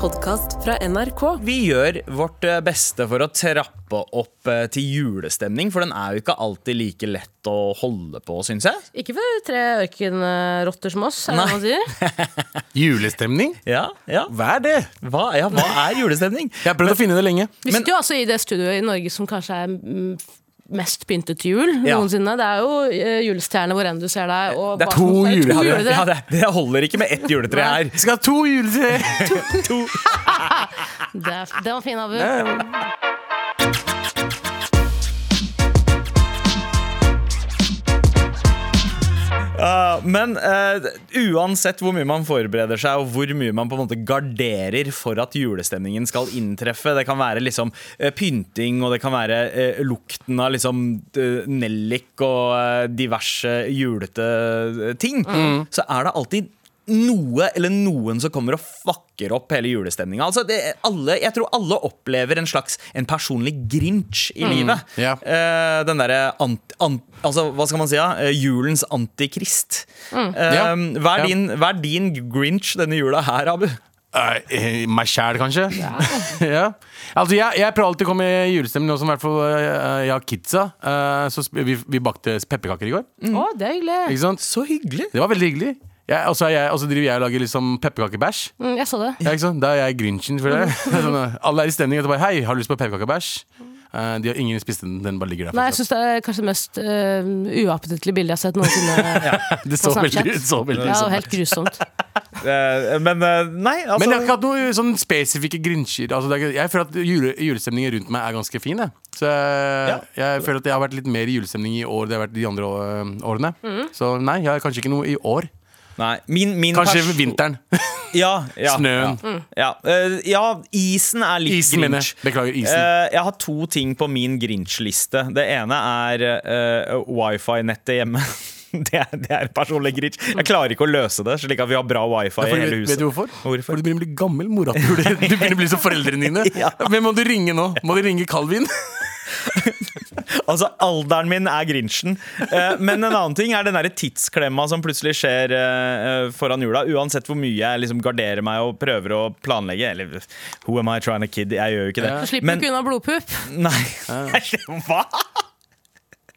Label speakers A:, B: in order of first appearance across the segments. A: podkast fra NRK.
B: Vi gjør vårt eh, beste for å trappe opp eh, til julestemning, for den er jo ikke alltid like lett å holde på, syns jeg.
A: Ikke for tre ørkenrotter som oss, er det
B: Nei.
A: man sier.
C: Julestemning?
B: Ja, ja.
C: Hva er det?
B: Hva, ja, hva er julestemning?
C: Jeg har prøvd å finne det lenge.
A: Vi sitter jo altså i det studioet i Norge som kanskje er mm, mest pyntet til jul
B: Ja.
A: noensinne. Det er jo eh, julestjerner hvor enn du ser deg. Og
B: Det er
A: bak
C: to
A: oss er det
C: jule-
A: to
C: Ja,
B: Ja,
A: juletre.
B: det, det holder ikke med ett juletre her.
C: Vi skal ha to juletre!
A: Det, er- det var fin, Abu.
B: Ja, men eh, uansett hvor mye man forbereder seg, og hvor mye man på en måte garderer for at julestemningen skal inntreffe Det kan være liksom eh, pynting, og det kan være eh, lukten av liksom eh, nellik og eh, diverse julete eh, ting. Så er det alltid noe eller noen som kommer og fucker opp hele julestemninga. Altså, det- alle- jeg tror alle opplever en slags en personlig grinch i livet.
C: Ja.
B: Eh, den derre ant, ant, Altså, hva skal man si? Ja? Eh, julens antikrist. Eh,
C: Ja.
B: hva, er
C: Ja.
B: din, hva er din grinch denne jula her, Abu?
C: Eh, eh, meg sjæl, kanskje? Ja. Altså, jeg, jeg prøver alltid å komme i julestemning nå som i hvert fall eh, jeg har kidsa. Eh, så sp- vi, vi bakte pepperkaker i går.
A: Å, det er hyggelig.
C: Ikke sant?
B: Så hyggelig.
C: Det var veldig hyggelig. Jeg, og så er jeg- og så driver jeg og lager liksom pepperkakebæsj.
A: Mm, jeg så det.
C: Ja, ikke sant? Da er jeg grinchen, føler
A: Mm.
C: jeg. Det er Sånn, eh, alle er i stemning. Og så bare, Hei, har du lyst på pepperkakebæsj? Eh, de har ingen spist den, den bare ligger der.
A: Nei, jeg syns det er kanskje det mest uh, uappetittlige bildet jeg har sett noensinne.
C: det så
A: på Snapchat.
C: veldig ut. Så veldig sånn.
A: Det
C: ut.
A: er jo helt grusomt.
B: Eh, men eh, nei, altså
C: Men jeg har ikke hatt noen sånn spesifikke grinsjer. Altså, det er ikke- jeg føler at jule, julestemningen rundt meg er ganske fin. Jeg. Så jeg, jeg føler at jeg har vært litt mer i julestemning i år enn jeg har vært de andre å- årene.
B: Mhm.
C: Så nei, jeg har kanskje ikke noe i år.
B: nei, min, min
C: Kanskje
B: pers-
C: vinteren.
B: Ja, ja,
C: Snøen.
B: Ja, ja. Eh, ja isen er litt
C: Isen, mener
B: grinch.
C: jeg. Beklager, isen.
B: Eh, jeg har to ting på min grinch-liste. Det ene er eh, wifi-nettet hjemme. Det er, det er personlig grinch. Jeg klarer ikke å løse det, slik at vi har bra wifi i
C: For,
B: hele
C: vet
B: huset.
C: du hvorfor?
B: Hvorfor?
C: Fordi du begynner å bli gammel, mora. Du blir- du begynner å bli som foreldrene dine.
B: Ja.
C: Hvem må du ringe nå? Må du ringe Calvin?
B: Altså, alderen min er grinchen. Eh, men en annen ting er den der tidsklemma som plutselig skjer eh, eh, foran jula. Uansett hvor mye jeg liksom garderer meg og prøver å planlegge. Eller who am I trying to kid? Jeg gjør jo ikke det.
A: Så slipper
B: Men-
A: du ikke unna blodpupp.
B: Nei. Hva?!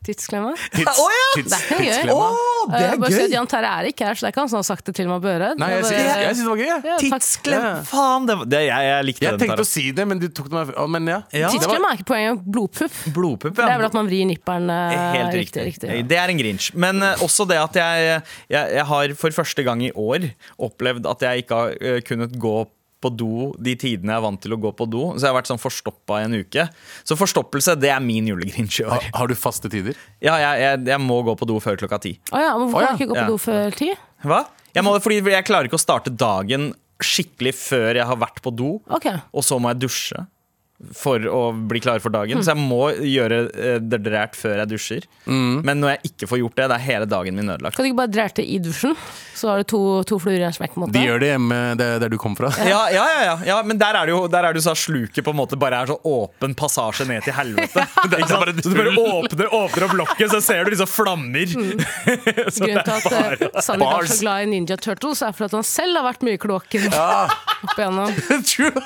A: Tidsklemma.
C: Tids,
B: Å, ja!
C: tids,
A: Det er ikke gøy.
C: tidsklemma.
B: Å,
A: Eh, bare si at Jan Terje er ikke her, så det er ikke han som har sagt det til meg på øret.
C: Nei, jeg,
A: Det er
C: sy-
A: bare-
C: jeg, jeg syns det var gøy. Jeg.
A: Ja, takk.
B: Tidsklem! Faen, det, var- det, jeg, jeg likte
C: Jeg
B: den.
C: tenkte å si det, men du tok det meg fra- Men ja.
B: Ja.
C: Det var-
A: Tidsklem er ikke poenget. Blodpupp.
B: Blodpupp,
A: Det
B: ja.
A: er vel at man vrir nipperen eh,
B: Helt riktig. Det er en grinch. Men eh, også det at jeg, jeg, jeg har for første gang i år opplevd at jeg ikke har eh, kunnet gå på do de tidene jeg er vant til å gå på do. Så jeg har vært sånn forstoppa i en uke. Så forstoppelse, det er min julegrinch i
C: Har,
B: år.
C: har du faste tider?
B: Ja, jeg, jeg, jeg må gå på do før klokka ti.
A: Å ja, men hvorfor
C: Å ja.
A: kan du ikke gå på
B: Ja.
A: do før ti?
B: Hva? Jeg må, fordi jeg klarer ikke å starte dagen skikkelig før jeg har vært på do.
A: Ok.
B: Og så må jeg dusje for å bli klar for dagen. Så jeg må gjøre eh, det drært før jeg dusjer.
C: Mm.
B: Men når jeg ikke får gjort det, det er hele dagen min ødelagt.
A: Kan du ikke bare drerte i dusjen? Så har du to, to fluer i en smekk. på en måte.
C: De gjør det hjemme der, der du kom fra.
B: Ja, ja, ja, ja. ja men der er det jo der er det jo så at sluket på en måte bare er så åpen passasje ned til helvete. Ikke sant?
C: bare et
B: så du bare
C: hull.
B: åpner, åpner opp lokket, så ser du liksom flammer.
C: Mm.
A: Grunnen til at eh, Sandeep er
C: bars.
A: så glad i Ninja Turtles, er for at han selv har vært mye i kloakken. Opp igjennom.
C: True.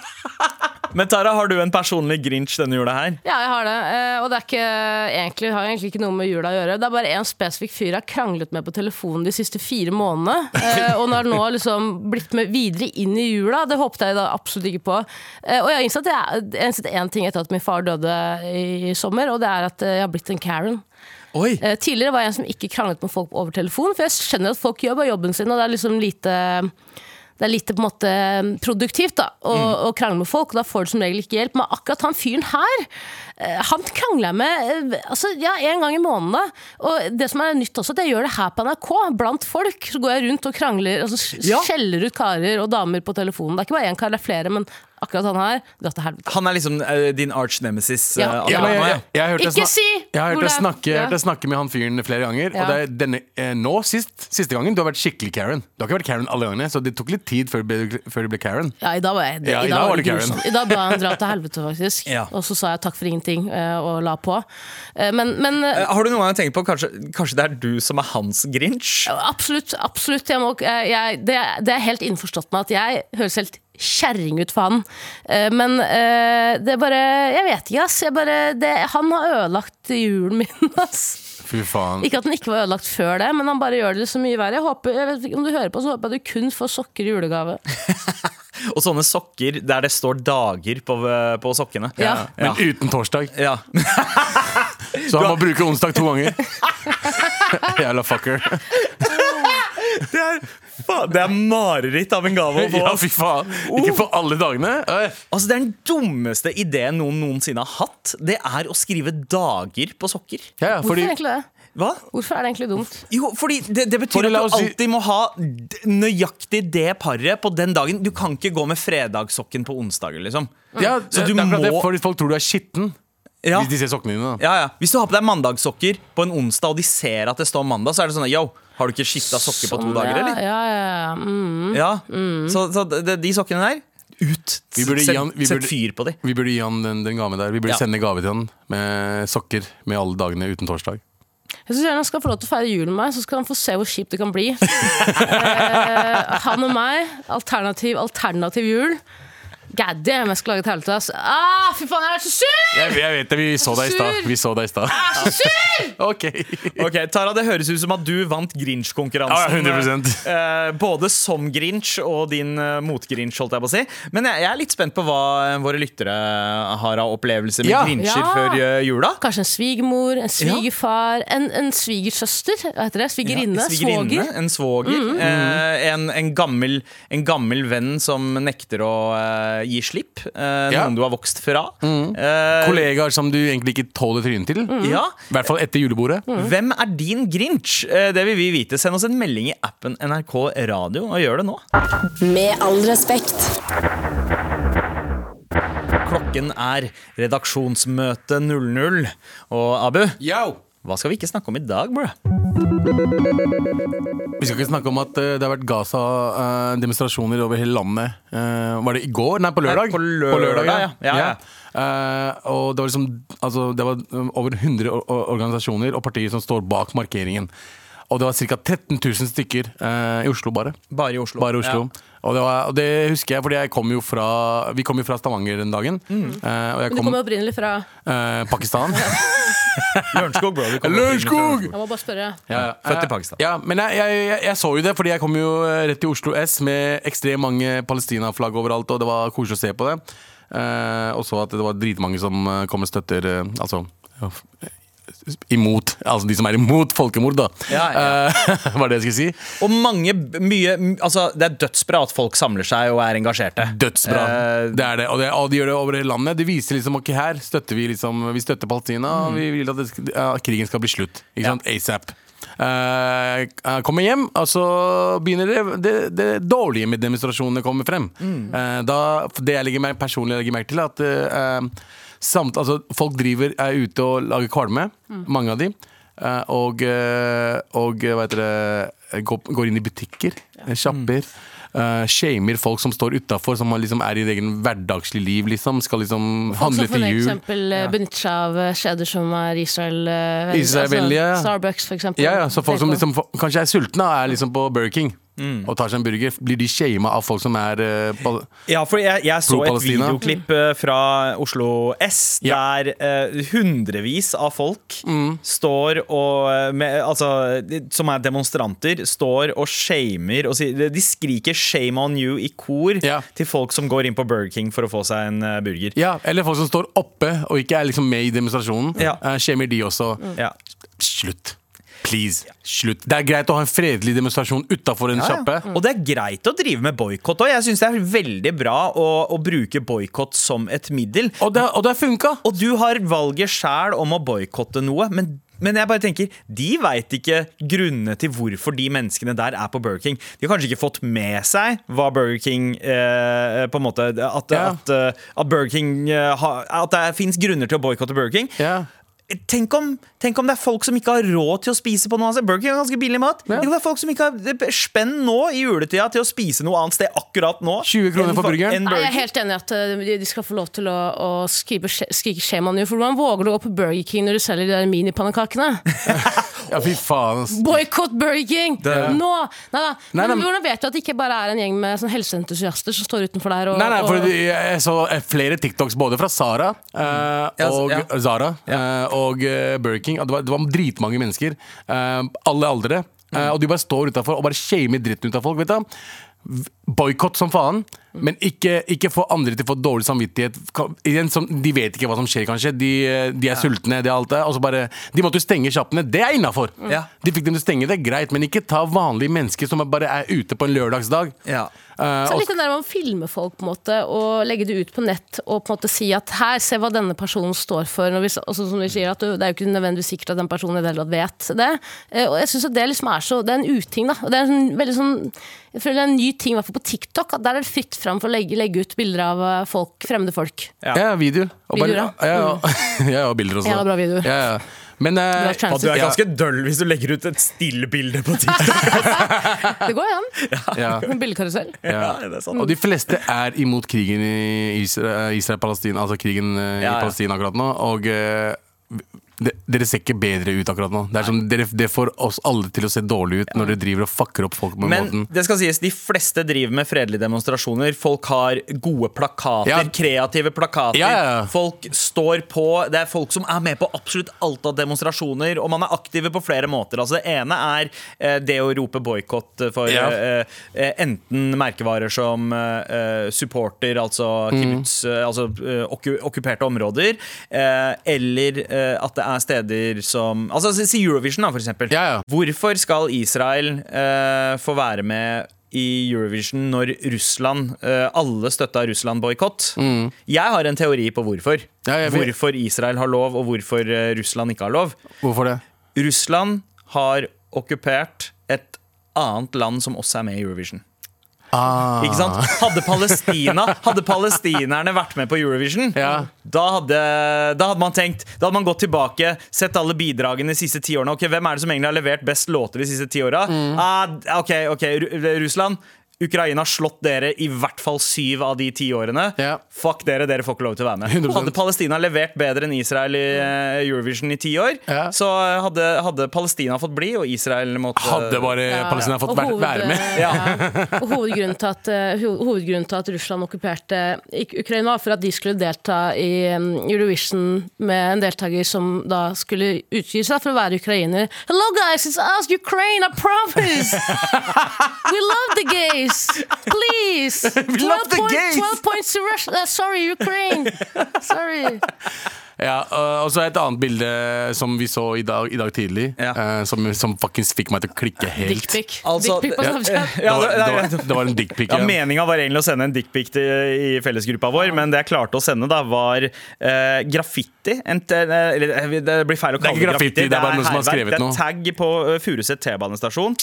B: Men Tara, har du en personlig grinch denne jula her?
A: Ja, jeg har det. eh, Og det er ikke, egentlig, har egentlig ikke noe med jula å gjøre. Det er bare én spesifikk fyr jeg har kranglet med på telefonen de siste fire månedene. eh, Og når nå liksom blitt med videre inn i jula. Det håpet jeg da absolutt ikke på. Eh, Og jeg har innsett jeg- jeg har innsett én ting etter at min far døde i i sommer, og det er at eh, jeg har blitt en Karen.
C: Oi.
A: Eh, Tidligere var jeg en som ikke kranglet med folk over telefon, for jeg skjønner at folk gjør bare jobben sin, og det er liksom lite det er lite på en måte eh, produktivt da, å, å krangle med folk, og da får du som regel ikke hjelp. Men akkurat han fyren her, eh, han krangler jeg med eh, altså, ja, en gang i måneden. da. Og det som er nytt også, at jeg gjør det her på NRK, blant folk. Så går jeg rundt og krangler, altså, s-
B: Ja.
A: skjeller ut karer og damer på telefonen. Det er ikke bare én kar, det er flere, men akkurat han her, dratt til helvete.
B: Han er liksom eh, din arch nemesis. eh,
A: Ja.
B: Adrian,
C: Ja, men jeg,
B: nå,
C: jeg, jeg, hørte
A: Ikke
C: snak-
A: si
C: jeg har hørt
A: hvor
C: deg
A: det er.
C: snakke, jeg
A: Ja.
C: har hørt deg snakke med han fyren flere ganger.
A: Ja.
C: Og det er denne, eh, nå sist, siste gangen, du har vært skikkelig Karen. Du har ikke vært Karen alle gangene, så det tok litt tid før du ble, før du ble Karen.
A: Ja, i dag var jeg
C: Ja, i dag var du Karen.
A: grusom. I dag ba jeg han dra til helvete, faktisk.
B: Ja.
A: Og så sa jeg takk for ingenting, eh, og la på. Eh, Men, men eh,
B: ja. Har du noen gang tenkt på kanskje, kanskje det er du som er hans grinch?
A: Absolutt. absolutt jeg må, jeg, det, det er helt innforstått med at jeg høres helt kjerring ut for han. Eh, Men eh, det er bare Jeg vet ikke, ass. Jeg bare, det, han har ødelagt julen min, ass.
C: Fy faen.
A: Ikke at den ikke var ødelagt før det, men han bare gjør det så mye verre. Jeg håper, jeg vet ikke Om du hører på, så håper jeg du kun får sokker i julegave.
B: Og sånne sokker der det står dager på, eh, på sokkene.
A: Ja.
C: Men uten torsdag.
B: Ja.
C: Så han må bruke onsdag to ganger. Jævla fucker.
B: Det er, faen, det er mareritt av en gave å få.
C: Ja, fy faen. Ikke for alle dagene. Øy.
B: Altså, det er Den dummeste ideen noen noensinne har hatt, det er å skrive dager på sokker.
C: Ja, ja,
A: Hvorfor
C: fordi
A: egentlig det?
B: Hva?
A: Hvorfor er det egentlig dumt?
B: Jo, fordi det, det betyr
C: Fordi la
B: at
C: oss
B: du
C: si-
B: alltid må ha d- nøyaktig det paret på den dagen. Du kan ikke gå med fredagssokken på onsdager, liksom.
C: ja,
B: Så du
C: det er akkurat det,
B: må-
C: fordi folk tror du er skitten
B: Ja.
C: hvis de ser sokkene dine. da
B: Ja, ja. Hvis du har på deg mandagssokker på en onsdag, og de ser at det står mandag, så er det sånn Yo, har du ikke skifta sokker på to
A: Sånn,
B: dager,
A: ja,
B: eller?
A: Ja, ja, ja. Mm.
B: Ja. Så, så de, de sokkene der, ut.
C: Vi burde gi
B: Sett-
C: han- vi
B: Sett
C: burde-
B: fyr på de.
C: Vi burde gi han den, den gaven der. Vi burde
B: Ja.
C: sende gave til han med sokker med alle dagene uten torsdag.
A: Jeg synes gjerne han skal få lov til å feire jul med meg, så skal han få se hvor kjipt det kan bli. Eh, han og meg, alternativ, alternativ jul. God damn, jeg skulle laget helvete, ass. Ah, fy faen, jeg er så sur!
C: Jeg, jeg vet det, vi så deg i stad. Vi så deg i stad.
A: Jeg er så sur!
C: Ok.
B: Ok, Tara, det høres ut som at du vant
C: Ja, ja,
B: Grinch-konkurransen.
C: 100%.
B: Eh, både som Grinch og din eh, mot-Grinch, holdt jeg på å si. Men jeg, jeg er litt spent på hva eh, våre lyttere har av opplevelser med
C: Ja.
B: Grincher
A: Ja.
B: før eh, jula.
A: Kanskje en svigermor, en svigerfar, en, en svigersøster, hva heter det? Svigerinne,
B: Svigerinne,
A: svoger.
B: En svoger.
A: Mm.
B: eh, en, en, gammel, en gammel venn som nekter å eh, gi slipp. eh,
C: Ja.
B: Noen du har vokst fra. Eh,
C: Kollegaer som du egentlig ikke tåler trynet til. I
B: ja.
C: hvert fall etter julebordet.
B: Hvem er din Grinch? Eh, Det vil vi vite. Send oss en melding i appen NRK Radio, og gjør det nå.
D: Med all respekt.
B: Klokken er redaksjonsmøte 00. Og Abu,
C: Yo!
B: hva skal vi ikke snakke om i dag, bro?
C: Vi skal ikke snakke om at eh, det har vært Gaza-demonstrasjoner over hele landet. Eh, var det i går? Nei, på
B: Nei,
C: lørdag.
B: på lørdag, ja. Ja, ja.
C: Eh, og det var liksom altså, Det var um, over 100 or- or- organisasjoner og partier som står bak markeringen. Og det var ca. 13 000 stykker eh, i Oslo, bare.
B: Bare i Oslo.
C: Bare i Oslo. Og, det var, og det husker jeg, fordi jeg kom jo fra, vi kom jo fra Stavanger den dagen.
B: Mm.
C: Eh, og jeg
A: Men du
C: kom
A: kommer opprinnelig fra Jeg
C: eh, Pakistan.
B: Ja. Lørenskog, bro. vi kommer
C: Lørenskog!
B: til
A: må bare spørre.
C: Ja, ja. Eh,
B: Født i Pakistan.
C: Ja, men jeg, jeg, jeg, jeg så jo det, fordi jeg kom jo eh, rett til Oslo S med ekstremt mange Palestina-flagg overalt, og det var koselig å se på det. Eh, og så at det var dritmange som eh, kom og støtter eh, Altså ja, f- imot. Altså de som er imot folkemord, da.
B: Ja, ja.
C: Eh, var det jeg skulle si.
B: Og mange, mye Altså, det er dødsbra at folk samler seg og er engasjerte.
C: Dødsbra.
B: Eh,
C: det er det. Og, det, og de gjør det over hele landet. De viser liksom ok, her støtter vi liksom Vi støtter Palestina, og vi vil at det, sk- ja, krigen skal bli slutt. Ikke sant? ASAP. Eh, jeg kommer hjem, og så begynner det, det, det dårlige med demonstrasjonene kommer frem. Eh, da, det jeg legger meg, personlig legger merke til, er at eh, samt, altså, folk driver, er ute og lager kvalme. Mange av de. Eh, og eh, og hva heter det, går, går inn i butikker, sjapper.
A: Mm.
C: eh, shamer folk som står utafor, som har liksom er i egen hverdagslig liv. Liksom, skal liksom
A: Folk
C: handle
A: som for
C: til jul.
A: eksempel eh, benytter seg av eh, kjeder som er Israel eh, vel-
C: Israelvennlige, ja.
A: Starbucks, for eksempel.
C: Ja, ja, så folk som
A: Tenk på.
C: liksom, kanskje er sultne, er liksom på Burger King
A: Mm.
C: og tar seg en burger. Blir de shama av folk som er eh, på
B: Ja, for jeg, jeg så et
C: Pro-Palestina.
B: videoklipp eh, fra Oslo S
C: Ja. Mm.
B: der eh, hundrevis av folk står og eh, med, Altså, de- som er demonstranter, står og shamer og sier De skriker 'shame on you' i kor
C: Ja.
B: til folk som går inn på Burger King for å få seg en eh, burger.
C: Ja, eller folk som står oppe og ikke er liksom med i demonstrasjonen.
B: Ja.
C: Eh, Shamer de også.
A: Mm.
B: Ja.
C: Slutt. Please. Slutt. Det er greit å ha en fredelig demonstrasjon utafor en sjappe.
A: Mm.
B: Og det er greit å drive med boikott òg. Jeg syns det er veldig bra å, å bruke boikott som et middel.
C: Og det, og det har funka!
B: Og du har valget sjæl om å boikotte noe, men, men jeg bare tenker de veit ikke grunnene til hvorfor de menneskene der er på Burger King. De har kanskje ikke fått med seg hva Burger King eh, på en måte At,
C: Ja.
B: at, eh, at Burger King eh, har- At det fins grunner til å boikotte Burger King.
C: Ja.
B: Tenk om, tenk om det er folk som ikke har råd til å spise på noe annet sted. Burger King er ganske billig mat. Tenk om det er folk som ikke har spenn nå i juletida til å spise noe annet sted akkurat nå.
C: 20 kroner
B: enn
C: for burgeren.
B: enn
A: Nei, jeg
B: Burger
A: er helt enig i at eh, de- de skal få lov til å, å skrive, skrike skjema nå. For hvordan våger du å gå på Burger King når du selger de der minipannekakene?
C: Ja, fy faen. ass.
A: Boikott Burger King!
B: Det-
A: Nå! Nei da.
C: Nei, nei,
A: Men
C: men-
A: hvordan vet du at det ikke bare er en gjeng med sånn helseentusiaster som står utenfor der og,
C: Nei, nei, for
A: og
C: jeg jeg så flere TikToks både fra Sara eh,
B: Ja,
C: og
B: ja.
C: Zara eh, og eh, Burger King. Og Det var, det var dritmange mennesker. eh, alle aldre. eh, og de bare står utafor og bare shamer dritten ut av folk. vet du Boikott som faen, men ikke, ikke få andre til å få dårlig samvittighet. Ka- Igjen, som, de vet ikke hva som skjer, kanskje. De, eh, de er sultne, det er alt det. Og så bare, de måtte jo stenge sjappene. Det er innafor!
B: Ja.
C: De fikk dem til å stenge det, greit, men ikke ta vanlige mennesker som bare er ute på en lørdagsdag.
B: Ja.
C: Eh,
A: så
C: og-
A: litt den der med å filme folk på en måte, og legge det ut på nett og på en måte si at her, se hva denne personen står for. Når vi, s- og sånn som vi sier at du, Det er jo ikke nødvendigvis sikkert at den personen i det hele tatt vet det. Eh, Og jeg synes at Det liksom er så, det er en uting. da, og det er en sånn, veldig sånn, Jeg føler det er en ny ting i hvert fall på TikTok. at Der er det fritt fram for å legge, legge ut bilder av eh, folk, fremmede folk.
B: Ja.
C: Ja, videoer. Og
A: Videoer,
C: ja. Ja, ja, og bilder også.
A: Ja, Mm. bra videoer.
C: Ja, ja. Men eh,
A: Du har
B: Og du
A: chances.
B: er ganske døll hvis du legger ut et stillbilde på TikTok.
A: Det går jo an.
C: ja,
A: Bildekarusell.
B: Ja, det er sant.
C: Og de fleste er imot krigen i Isra- Israel-Palestina, altså krigen eh,
B: Ja, ja.
C: i Palestina akkurat nå. Og eh, de, dere ser ikke bedre ut akkurat nå. Det, er som, dere, det får oss alle til å se dårlig ut når dere driver og fucker opp folk på den
B: Men
C: måten.
B: det skal sies, de fleste driver med fredelige demonstrasjoner. Folk har gode plakater,
C: Ja.
B: kreative plakater.
C: Ja, ja, ja.
B: Folk står på. Det er folk som er med på absolutt alt av demonstrasjoner. Og man er aktive på flere måter. Altså, det ene er eh, det å rope boikott for
C: Ja.
B: eh, eh, enten merkevarer som eh, eh, supporter, altså
C: Mm.
B: kibbutz, eh, altså eh, okku okkuperte områder, eh, eller eh, at det er steder som Altså, si Eurovision, da, for eksempel.
C: Ja, ja.
B: Hvorfor skal Israel eh, få være med i Eurovision når Russland eh, alle støtta Russland-boikott? Jeg har en teori på hvorfor.
C: Mm. Ja, jeg vet.
B: hvorfor Israel har lov, og hvorfor eh, Russland ikke har lov.
C: Hvorfor det?
B: Russland har okkupert et annet land som også er med i Eurovision.
C: Ah.
B: Ikke sant? Hadde, Palestina, hadde palestinerne vært med på Eurovision,
C: Ja.
B: da, hadde, da hadde man tenkt Da hadde man gått tilbake, sett alle bidragene de siste ti årene. Ok, Hvem er det som egentlig har levert best låter de siste ti åra?
C: Mm.
B: Ah, ok, ok, Ru- Russland. Ukraina har slått dere i hvert fall syv av de ti årene.
C: Ja.
B: Fuck dere, dere får ikke lov til å være med.
C: 100%.
B: Hadde Palestina levert bedre enn Israel i eh, Eurovision i ti år,
C: Ja.
B: så hadde, hadde Palestina fått bli, og Israel måtte
C: Hadde bare Palestina fått
A: Og
C: være,
A: hoved-
C: være med.
A: ja. Og hovedgrunnen til at, eh, ho- hovedgrunnen til at Russland okkuperte Ik- Ukraina, var for at de skulle delta i em, Eurovision med en deltaker som da skulle utgi seg for å være ukrainer. Hello guys, it's us, Ukraine, I promise! We love the gays! Please!
C: We love
A: 12
C: the
A: point-
C: gays!
A: 12 points to Russia! eh, sorry, Ukraine! Sorry.
C: Ja, øh, og så et annet bilde som vi så i dag, i dag tidlig,
B: Ja.
C: eh, som, som fuckings fikk meg til å klikke helt.
A: Dickpic.
B: Altså,
A: Dickpic på
B: ja,
A: Snapchat.
B: ja,
C: det,
B: det-
C: var,
B: det-
C: det, var, det var en dickpic.
B: Ja, Meninga var egentlig å sende en dickpic til- i fellesgruppa vår, men det jeg klarte å sende, da var eh, graffiti. En, t- eh, eller, eh, det blir feil å
C: er
B: kalle
C: ikke graffiti, det er bare noen som har
B: hærverk.
C: skrevet
B: Det er
C: noe.
B: tagg på eh, Furuset T-banestasjon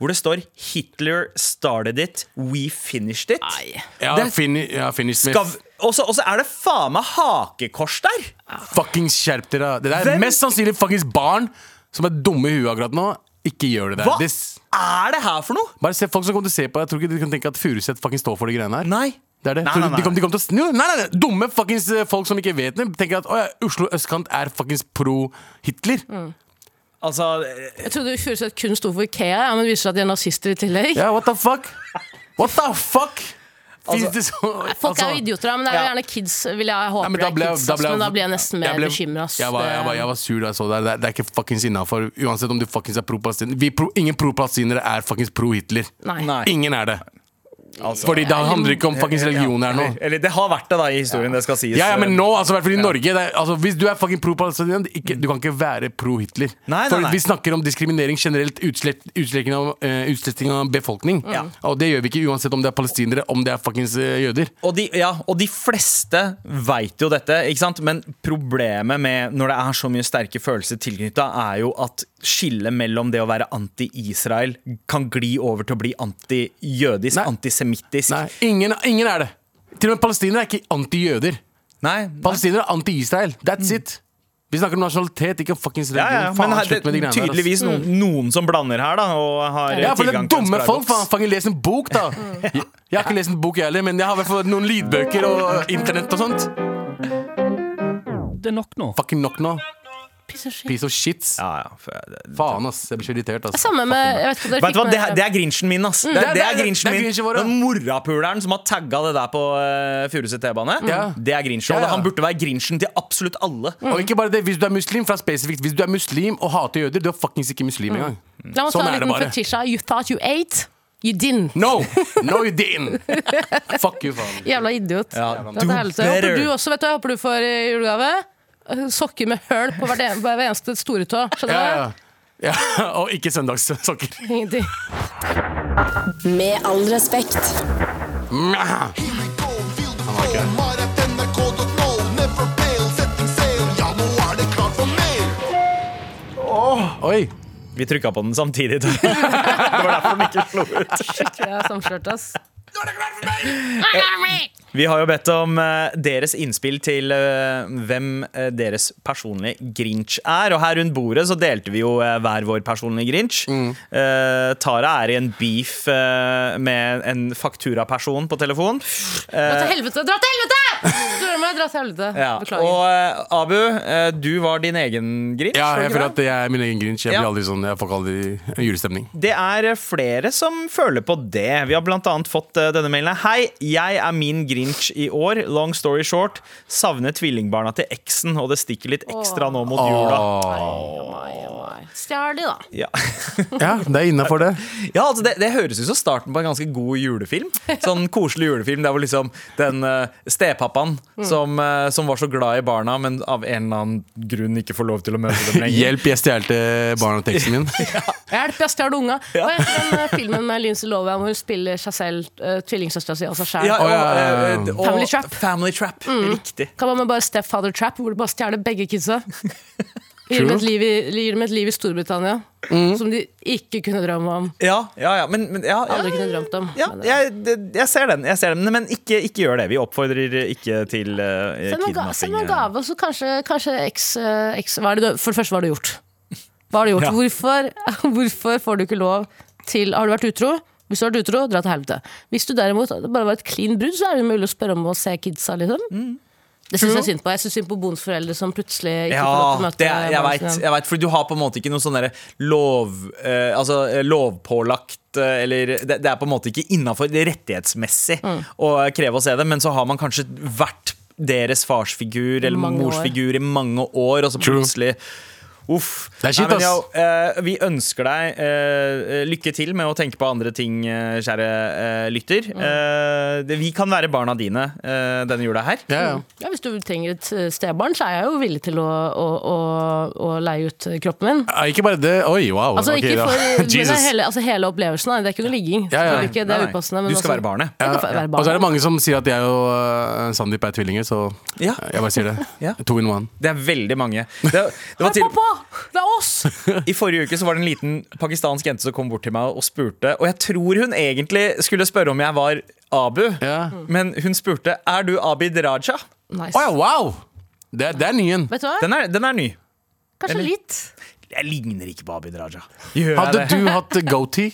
B: hvor det står 'Hitler started it, we finished it'.
A: Nei.
C: Ja,
B: Det-
C: fini, ja finish med
B: Gav, og så og så er det faen meg hakekors der!
C: Fuckings skjerp dere! Det der
B: Hvem-
C: er mest sannsynlig fuckings barn som er dumme i huet akkurat nå. Ikke gjør det der.
B: Hva
C: Det, s-
B: er det her for noe?!
C: bare se folk som kommer til å se på deg. Jeg tror ikke de kan tenke at Furuset fucking står for de greiene her.
B: Nei.
C: Det er det.
B: Nei,
C: Tror du
B: nei,
C: De
B: nei.
C: kom, de kom til å, snu? nei, nei, nei. Dumme fuckings eh, folk som ikke vet det, tenker at å, ja, Oslo østkant er fuckings pro Hitler.
A: Mm.
B: Altså, eh,
A: Jeg trodde Furuset kun sto for Ikea, ja, men det viser seg at de er nazister i tillegg.
C: Ja, what the fuck? What the fuck? Finnes
B: Altså-
C: det så
A: Folk er
C: altså-
A: jo idioter, da, men det er jo
B: Ja.
A: gjerne kids. Vil jeg håpe
C: Nei, men
A: det
C: da
A: er
C: ble,
A: kids,
C: da
A: ass,
C: ble,
A: men da blir jeg nesten mer
C: ble-
A: bekymra. ass.
C: Jeg, var- jeg, var- jeg var sur da jeg så det. Det er, det er ikke fuckings innafor. Uansett om du fuckings er pro-palestiner. Vi pro, ingen pro-palestinere er fuckings pro-Hitler.
A: Nei.
B: Nei.
C: Ingen er det.
B: altså
C: Fordi det handler ikke om fuckings religion her nå.
B: eh, eller, eller det har vært det, da, i historien. Det skal sies.
C: Ja, ja, men nå, altså, i hvert fall i Norge det er, altså, Hvis du er fucking pro-palestiner, det er ikke- du kan ikke være pro-Hitler.
B: Nei, nei,
C: For
B: nei.
C: Vi snakker om diskriminering generelt, utslett, utsletting, av, eh, utsletting av befolkning. Og det gjør vi ikke uansett om det er palestinere, om det er fuckings eh, jøder.
B: Og de, ja, og de fleste veit jo dette, ikke sant? men problemet med når det er så mye sterke følelser tilknytta, er jo at skillet mellom det å være anti-Israel kan gli over til å bli anti-jødisk,
C: Nei.
B: antisemittisk.
C: Nei, ingen, ingen er det. Til og med palestinere er ikke antijøder.
B: Nei, nei.
C: Palestinere er anti-Israel. That's it. Vi snakker om nasjonalitet, ikke om fuckings
B: Mm. Ja,
C: religion.
B: ja,
C: Faen,
B: men her,
C: slutt med de
B: det,
C: greiene der, ass.
B: tydeligvis noen, noen som blander her, da. Og har
C: Ja, for det
B: tilgang
C: er
B: til Mm. ens
C: dumme
B: paradoks.
C: folk. Faen, fucking les en bok, da. Jeg, jeg har ikke lest en bok, jeg heller, men jeg har i hvert fall noen øh, lydbøker og internett og sånt.
E: Det er nok nå.
C: Fucking nok nå.
A: Piece of shit.
C: Piece of shits.
B: Ja, ja, for jeg- det-
C: Faen, ass. Jeg blir så irritert, ass.
A: Samme med jeg vet ikke om dere
B: Vet du hva,
A: fikk
B: det,
A: med
B: er- det er grinchen min, ass. Det,
C: Mm. det er-
B: er- det er
C: det er
B: grinchen min.
C: grinchen vår, ja.
B: Den morapuleren som har tagga det der på uh, Furuset T-bane,
C: Ja.
B: det er grinchen.
C: Ja,
B: Og
C: ja.
B: han burde være grinchen til absolutt alle.
C: Og ikke bare det, hvis du er muslim, fra spesifikt Hvis du er muslim og hater jøder, du er fuckings ikke
B: Mm.
C: muslim engang.
A: La meg ta
C: Sånn
A: en
C: er det
A: liten
C: bare.
A: fetisha. You thought you ate, you didn't.
C: No! No, you didn't! Fuck you, faen.
A: Jævla idiot.
B: Ja,
A: Dra
B: do
A: til helvete. Jeg
B: better.
A: Håper du også, vet du, jeg håper du får i julegave. Sokker med høl på hver, en- hver eneste store tå. Skjønner du?
C: Ja, ja. ja. Og ikke søndagssokker.
A: Ingenting.
D: Med all respekt.
C: Oi!
B: Vi trykka på den samtidig. det var derfor den ikke slo ut.
A: Shit, jeg er samkjørt, ass.
B: Vi har jo bedt om eh, deres innspill til eh, hvem eh, deres personlige grinch er. Og her rundt bordet så delte vi jo eh, hver vår personlige grinch.
C: Mm.
B: Eh, Tara er i en beef eh, med en fakturaperson på telefon.
A: Dra til helvete! Dra til helvete! Du hører meg, dra til helvete.
B: Ja. Og
A: Beklager.
B: eh, Abu, eh, du var din egen grinch.
C: Ja,
B: var
C: jeg
B: du ikke det?
C: føler at jeg er min egen grinch. Jeg
B: Ja.
C: blir aldri sånn, jeg får ikke aldri julestemning.
B: Det er eh, flere som føler på det. Vi har blant annet fått eh, denne mailen. Hei, jeg er min Grinch i år. Long story short. Savner tvillingbarna til eksen, og det stikker litt ekstra nå mot jula.
A: Stjel de, da.
B: Ja,
C: Ja, det er innafor det.
B: ja altså det, det høres ut som starten på en ganske god julefilm. Sånn koselig julefilm der hvor liksom den eh, stepappaen som, eh, som var så glad i barna, men av en eller annen grunn ikke får lov til å møte dem lenger.
C: Hjelp, jeg stjelte barneteksten min.
A: Hjelp, jeg stjal unga. Og etter den eh, filmen med Lindsay Lohan hvor hun spiller seg selv, uh, tvillingsøstera si og seg sjæl.
B: Ja, og,
C: ja, ja, ja.
B: eh, og,
A: Family Trap. Mm.
B: Family Trap, Riktig.
A: Kan man med bare Stepfather Trap, hvor du bare stjeler begge kidsa? Gir
C: True.
A: dem, et liv i, gir dem et liv i Storbritannia
B: Mm.
A: som de ikke kunne drømme om.
B: Ja, ja, ja. Men, men ja, ja,
A: Aldri kunne drømt om.
B: Ja,
A: Men, eh,
B: jeg, det- jeg ser den, jeg ser den men ikke, ikke gjør det. Vi oppfordrer ikke til eh,
A: Send meg en ga- send
B: kidnapping.
A: meg en gave, og så kanskje, kanskje eks, eh, eks hva er det du, For det første, hva har du gjort? Hva har du gjort?
B: Ja.
A: Hvorfor, hvorfor får du ikke lov til Har du vært utro? Hvis du har vært utro, dra til helvete. Hvis du derimot bare var et clean brudd, så er det mulig å spørre om å se kidsa, liksom.
B: Mm.
A: Det syns jeg synd på. Jeg syns synd på bonusforeldre som plutselig ikke får lov til å
B: Ja,
A: møte
B: det, er- jeg
A: barna
B: veit.
A: sine.
B: Jeg vet, for du har på en måte ikke noe sånn derre lov, eh, altså, eh, lovpålagt eh, eller det, det er på en måte ikke innafor rettighetsmessig
A: Mm.
B: å eh, kreve å se det, men så har man kanskje vært deres farsfigur eller
A: Mange år.
B: morsfigur i mange år, og så
C: True.
B: plutselig Uff.
C: Det er shit,
B: Nei, men,
C: ass.
B: yo, eh, vi ønsker deg eh, lykke til med å tenke på andre ting, eh, kjære eh, lytter.
A: Mm.
B: Eh, det, vi kan være barna dine eh, denne jula her.
C: Ja, ja.
A: Ja, hvis du trenger et eh, stebarn, så er jeg jo villig til å, å, å, å leie ut eh, kroppen min.
C: Ja, Ikke bare det. Oi, wow.
A: Altså,
C: Ok,
A: ikke
C: da.
A: for, men det er
C: Jesus.
A: hele, altså, hele opplevelsen. da. Det er ikke noe ligging.
C: Ja, ja.
A: Selvfølgelig Ikke, det
B: Nei,
A: er
B: nei.
A: upassende.
B: Du
A: men
B: skal
A: altså-
B: være barnet.
A: Jeg kan få- være
C: Og så er det
A: barnet.
C: mange som sier at jeg og eh, Sandeep er tvillinger, så
B: Ja.
C: jeg bare sier det.
B: Ja.
C: Two in one.
B: Det er veldig mange. Det, det var
A: Hei,
B: til,
A: pappa! Det er oss!
B: I forrige uke så var det en liten pakistansk jente som kom bort til meg og spurte. Og jeg tror hun egentlig skulle spørre om jeg var Abu,
C: Ja. Mm.
B: men hun spurte er du Abid Raja.
A: Nice.
C: Å ja, wow! Det, er- det er nyen.
A: Vet du hva?
B: Den er, den er ny.
A: Kanskje
B: eller-
A: litt.
B: Jeg ligner ikke på Abid Raja. Gjør jeg
C: Hadde
B: det?
C: du hatt goatee?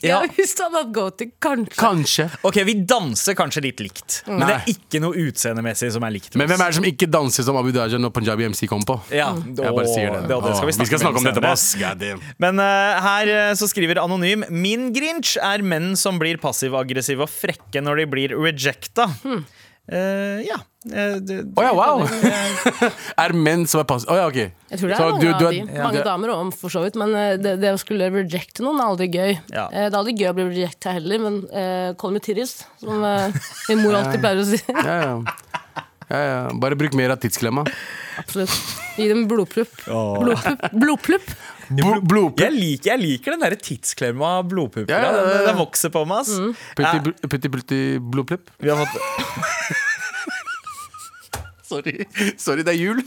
A: Ja.
B: Ja.
A: Hvis du hadde hatt goatee, kanskje.
C: Kanskje.
B: Ok, Vi danser kanskje litt likt, men det
C: Nei.
B: er ikke noe utseendemessig som er likt.
C: Men hvem er det som ikke danser som Abid Raja når Punjabi MC kommer på?
B: Ja,
C: Jeg bare sier det. Ah,
B: Åh, det skal vi
C: Åh,
B: snakke,
C: om dette,
B: senere.
C: ass. God damn.
B: Men eh, her eh, så skriver Anonym Min grinch er menn som blir passiv-aggressive og frekke når de blir rejecta. Eh, ja. Eh, det-
C: Hmm. Å ja, wow! er menn som er pass... Å ja, ok.
A: Jeg tror det er
C: Så
A: mange
C: du- du
A: av de. Mange
C: du er-
A: damer òg, for så vidt. Men eh, det, det å skulle rejecte noen er aldri gøy.
B: Ja.
A: Eh, Det er aldri gøy å bli rejecta heller, men eh, call me Tiris, som eh, min mor alltid pleier å si.
C: Ja, ja. Ja, ja. Bare bruk mer av tidsklemma.
A: Absolutt. Gi dem blodplupp. Blodplupp. blodplupp.
C: Bl Blodpupp.
B: Jeg liker, jeg liker den der tidsklemma blodpuppa.
C: Ja, ja, ja, ja.
B: Den, den vokser på meg. ass.
C: Putti,
B: Eh,
C: bl- putti, putti blodplupp.
B: vi har fått,
C: Sorry. Sorry, det er jul.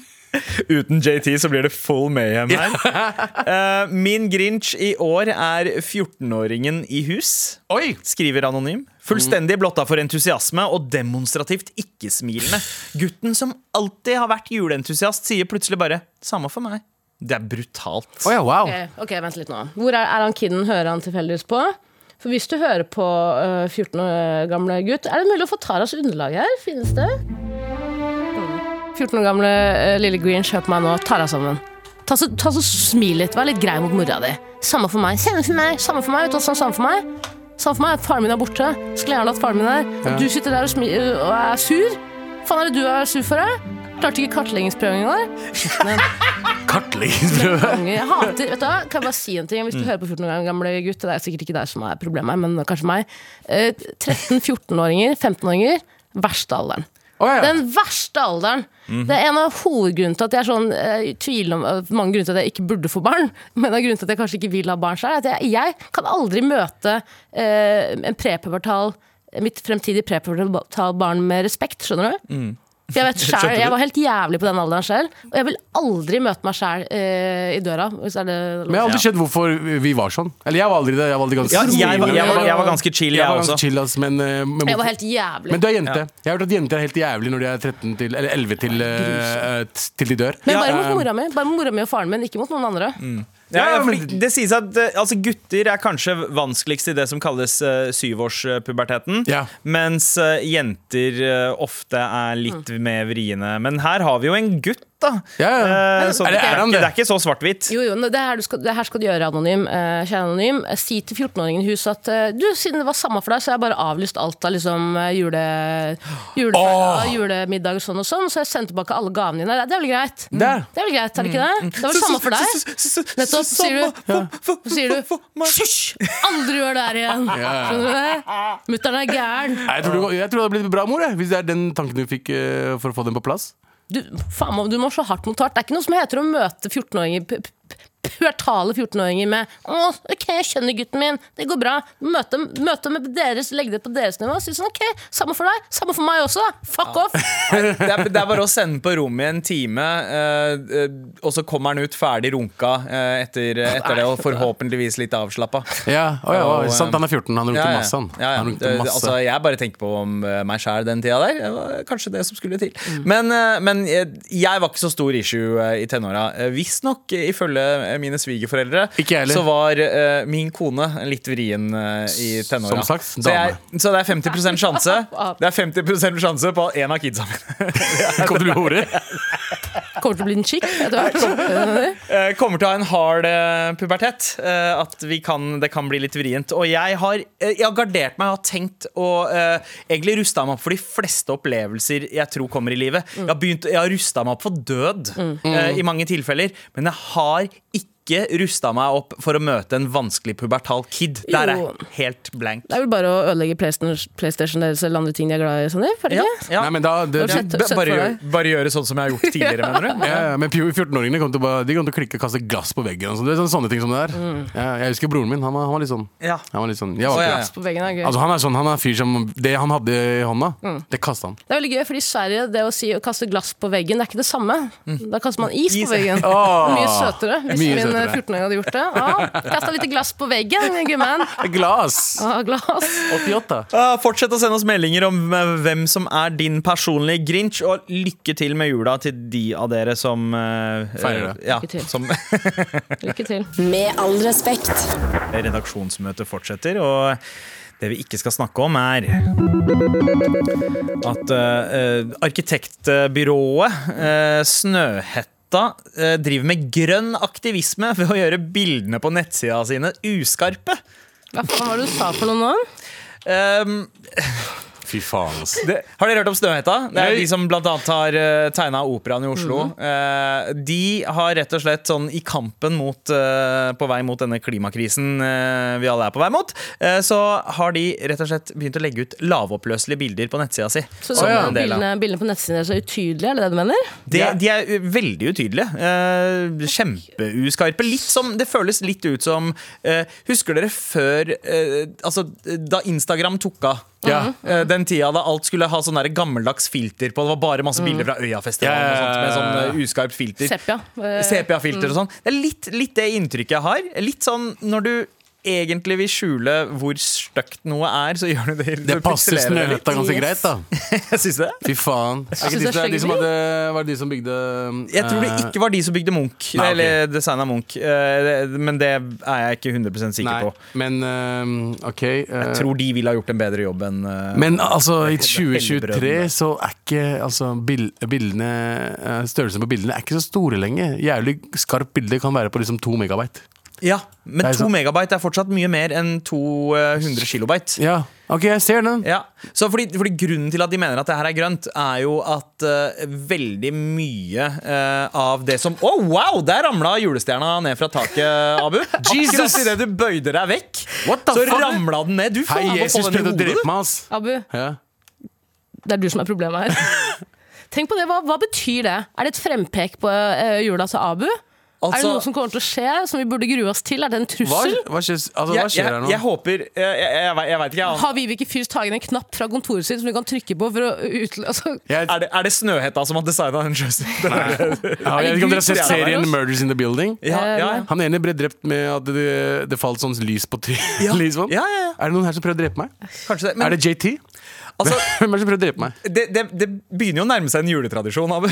B: uten JT så blir det full mayhem her. Eh, min grinch i år er 14-åringen i hus.
C: Oi!
B: skriver Anonym.
C: Mm.
B: Fullstendig blotta for entusiasme og demonstrativt ikke-smilende. Gutten som alltid har vært juleentusiast, sier plutselig bare 'samme for meg'. Det er brutalt.
C: Å ja, wow.
A: Ok, ok, vent litt nå. Hvor er, er han kiden? Hører han tilfeldigvis på? For hvis du hører på eh, 14 år gamle gutt Er det mulig å få Taras underlag her? Finnes øh, det? Mm. 14 år gamle eh, lille Green, kjøp meg nå Tara sammen. Ta så, ta så smil litt, vær litt grei mot mora di. Samme for meg. Samme for meg, samme for meg, vet du hva som er samme for meg? Samme for meg at faren min er borte. Skulle gjerne hatt faren min her. Og
C: Ja.
A: du sitter der og, smi øh, og er sur. Faen er det du er sur for, da? Klarte ikke kartleggingsprøven i går.
C: Kartleggingsprøve.
A: Konge. Jeg hater, vet du hva, kan jeg bare si en ting Hvis du hører på 14 år gamle gutt Det er sikkert ikke deg som er problemet, men kanskje meg Eh, 13-14-åringer, 15-åringer Verste alderen
C: Å, ja.
A: Den verste alderen
C: Mhm.
A: Det er en av hovedgrunnen til at jeg er sånn eh, i tvil om eh, Mange grunner til at jeg ikke burde få barn Men en av grunnen til at jeg kanskje ikke vil ha barn selv er at jeg, jeg kan aldri møte eh, En prepubertal Mitt fremtidige prepubertal barn med respekt Skjønner du?
C: Mm.
A: For jeg vet selv, jeg var helt jævlig på den alderen selv, og jeg vil aldri møte meg selv eh, i døra. Hvis er det
C: Men jeg har aldri
B: Ja.
C: skjønt hvorfor vi var sånn. Eller jeg var aldri det. Jeg var aldri ganske
B: Ja, jeg, var, jeg, var, jeg var ganske chill, jeg
C: var ganske
B: også.
C: chill, ass, men, eh, men
A: jeg
C: hvorfor-
A: var helt jævlig.
C: Men du er jente. Jeg har hørt at jenter er helt jævlig når de er 13 til, eller 11 til, eh, eh, til de dør.
A: Men bare
C: Ja,
A: mot
C: eh,
A: mora mi Bare mot mora mi og faren min, ikke mot noen andre.
B: Ja,
C: Ja,
B: ja,
C: men-
B: fordi det sies at eh, altså, gutter er kanskje vanskeligst i det som kalles eh, syvårspuberteten,
C: Ja.
B: mens eh, jenter eh, ofte er litt
A: Mm.
B: mer vriene. Men her har vi jo en gutt, da.
C: Ja, ja.
B: Eh,
C: Men-
B: så
C: Er
B: det,
C: det- er
B: er
C: han
B: ikke,
C: det?
B: det er ikke så svart-hvitt.
A: Jo, jo, men det her, du skal, det her skal du gjøre, Anonym. eh, kjære Anonym. Eh, Si til 14-åringen i huset at eh, du, siden det var samme for deg, så har jeg bare avlyst alt av liksom, eh, jule, jule,
C: Åh!
A: julemiddag og sånn og sånn, så jeg sendte tilbake alle gavene dine. Det er vel greit?
C: Der.
A: Det er Mm. vel greit, er det ikke det? Det var det samme for deg. Nettopp, så sier du- Så sier du Hysj! Aldri gjør det her igjen!
C: ja.
A: Skjønner du det? Mutter'n er gæren.
C: Nei, Jeg tror, du, jeg tror det hadde blitt bra mor, jeg, hvis det er den tanken du fikk eh, for å få den på plass.
A: Du, faen, må- du må slå hardt mot hardt. Det er ikke noe som heter å møte 14-åringer pu- pu- pubertale 14-åringer med Å, OK, jeg skjønner gutten min, det går bra. Møte, møte med deres, legg det på deres nivå. Si sånn, OK, samme for deg, samme for meg også, da. Fuck off.
B: Det er, det er bare å sende på rommet i en time, eh, eh, og så kommer han ut ferdig runka eh, etter, etter det, og forhåpentligvis litt avslappa.
C: Ja, å, ja,
B: Og, eh,
C: sant, han er 14, han rungte
B: Ja, ja.
C: masse, han.
B: Ja, ja.
C: han rungte
B: Det-
C: masse.
B: Altså, jeg bare tenker på om eh, meg sjæl den tida der. Det var kanskje det som skulle til.
C: Mm.
B: Men, eh, men eh, jeg var ikke så stor issue eh, i tenåra. Eh, Visstnok, eh, ifølge eh, mine svigerforeldre,
C: Ikke jeg heller.
B: så var eh, min kone litt vrien eh, i tenåra.
C: Som sagt,
B: så,
C: dame.
B: jeg, så det er 50 sjanse Det er 50 sjanse på en av kidsa mine
C: Kom til å bli hore.
A: Kommer til å bli en chick etter hvert.
B: Eh, kommer til å ha en hard eh, pubertet. eh, At vi kan, det kan bli litt vrient. Og jeg har, eh, jeg har gardert meg og har tenkt og eh, egentlig rusta meg opp for de fleste opplevelser jeg tror kommer i livet. Jeg har, begynt, jeg har rusta meg opp for død eh, i mange tilfeller, men jeg har ikke rusta meg opp for å møte en vanskelig pubertal kid. Der er
A: Jo.
B: jeg helt blank.
A: Det er vel bare å ødelegge PlayStation, PlayStation deres eller andre ting de er glad i, Sandeep? er det ikke?
B: Ja.
C: Nei, men da, det,
A: Sett-
B: B-
A: sett for
B: Bare, gjør,
A: deg.
B: bare gjøre sånn som jeg har gjort tidligere, mener du?
C: ja, ja, men 14-åringene kommer til, å bare- de kommer til å klikke og kaste glass på veggen. og sånn. det er sånne, sånne ting som det der.
A: Mm.
C: Ja, jeg husker broren min. Han var, han var litt sånn.
B: Ja.
C: Han var litt sånn jeg var
B: Å, ja,
C: ikke-
B: ja.
A: Glass på veggen er gøy.
C: Altså, han er sånn, han er en fyr som Det han hadde i hånda,
A: Mm.
C: det kasta han.
A: Det er veldig gøy, fordi i Sverige, det å si å kaste glass på veggen, det er ikke det samme. Da kaster man is på
B: Is.
A: veggen.
C: Mm. Åh.
A: Mye søtere. Hvis
C: Mye
A: min
C: søtere.
A: 14-åring hadde gjort det. Ja, Kasta litt glass på veggen, gummen.
C: Glass!
A: Ah, glass.
C: 88.
B: Ah, Fortsett å sende oss meldinger om eh, hvem som er din personlige Grinch, og lykke til med jula til de av dere som eh,
C: Feirer det.
B: eh, Ja,
A: Lykke til.
B: som
A: Lykke til.
D: Med all respekt.
B: redaksjonsmøtet fortsetter. Og det vi ikke skal snakke om, er at eh, eh, arkitektbyrået eh, Snøhetta eh, driver med grønn aktivisme ved å gjøre bildene på nettsida sine uskarpe.
A: Hva faen var det du sa for noe nå?
B: Um,
C: Fy faen, ass.
B: det, har dere hørt om Snøhetta? Det er de
C: Nei.
B: som blant annet har uh, tegna operaen i Oslo.
A: Mhm.
B: Eh, de har rett og slett sånn i kampen mot eh, på vei mot denne klimakrisen eh, vi alle er på vei mot, eh, så har de rett og slett begynt å legge ut lavoppløselige bilder på nettsida si.
A: Så
B: som
C: ja.
B: en del av-
A: bildene, bildene på nettsiden deres er utydelige, er det det du mener?
B: de, de er uh, veldig utydelige. Eh, kjempeuskarpe. Litt som, det føles litt ut som eh, Husker dere før eh, Altså, da Instagram tok av?
C: Ja.
B: Eh, den tida da alt skulle ha sånn der gammeldags filter på. Det var bare masse bilder fra Øyafestivalen og sånt, med sånn eh, uskarpt filter.
A: Mm. Sepia. Eh,
B: Sepia-filter og sånn. Det er litt, litt det inntrykket jeg har. Litt sånn når du egentlig vil skjule hvor stygt noe er, så gjør du det.
C: Det passer
B: pikselere litt.
C: Snøhetta ganske
A: Yes.
C: greit, da.
B: Syns du det?
C: Fy faen. Er
A: synes det er
C: ikke disse, de
A: stygt.
C: som hadde, var det de som bygde
B: Jeg tror det
C: eh,
B: ikke var de som bygde Munch,
C: Nei, ok.
B: eller designa Munch. eh, det- Men det er jeg ikke 100 sikker
C: Nei,
B: på.
C: men eh, OK. eh,
B: Jeg tror de ville ha gjort en bedre jobb enn eh,
C: Men altså, i
B: kommer til å helle
C: 2023 så er ikke altså, bil- bildene eh, Størrelsen på bildene er ikke så store lenger. Jævlig skarpt bilde kan være på liksom to megabyte.
B: Ja, men
C: Det er
B: to
C: sant.
B: megabyte er fortsatt mye mer enn 200 kilobyte.
C: Ja, OK, jeg ser den.
B: Ja, så fordi, fordi Grunnen til at de mener at det her er grønt, er jo at eh, veldig mye eh, av det som Å, wow! Der ramla julestjerna ned fra taket, Abu.
C: Jesus!
B: Akkurat idet du bøyde deg vekk,
C: What the
B: så
C: fuck?
B: ramla den ned. Du
C: Hei,
B: faen, må få
C: Jesus
B: den i
C: prøvde å
B: hodet,
C: drepe
B: du.
C: meg, ass.
A: Abu,
C: Ja.
A: det er du som er problemet her. Tenk på det, hva, hva betyr det? Er det et frempek på eh, jula til Abu? er det
B: Altså-
A: noe som kommer til å skje, som vi burde grue oss til? Er det en
C: Hva,
A: trussel?
C: hva skjer, altså, hva
B: Jeg,
C: skjer
B: jeg,
C: her nå?
B: jeg håper Jeg, jeg, jeg, jeg altså. veit ikke. jeg-
A: Har Vibeke Fyrst Hagen en knapp fra kontoret sitt som du kan trykke på for å utløse altså,
C: Jeg-
B: Er det, er det Snøhetta som har designa den drøsen?
C: Ja, jeg vet ikke om dere har sett
B: Herregud,
C: serien
A: seriøst?
C: 'Murders in the Building'?
B: Ja, ja, ja.
C: Han ene ble drept med at det, det falt sånn lys på trynet.
B: Ja.
C: liksom.
B: Ja, ja, ja.
C: Er det noen her som prøver å drepe meg?
B: Kanskje det. Men
C: er det JT?
B: altså,
C: Hvem er det som prøver å drepe meg?
B: det, det, det begynner jo å nærme seg en juletradisjon, Abu.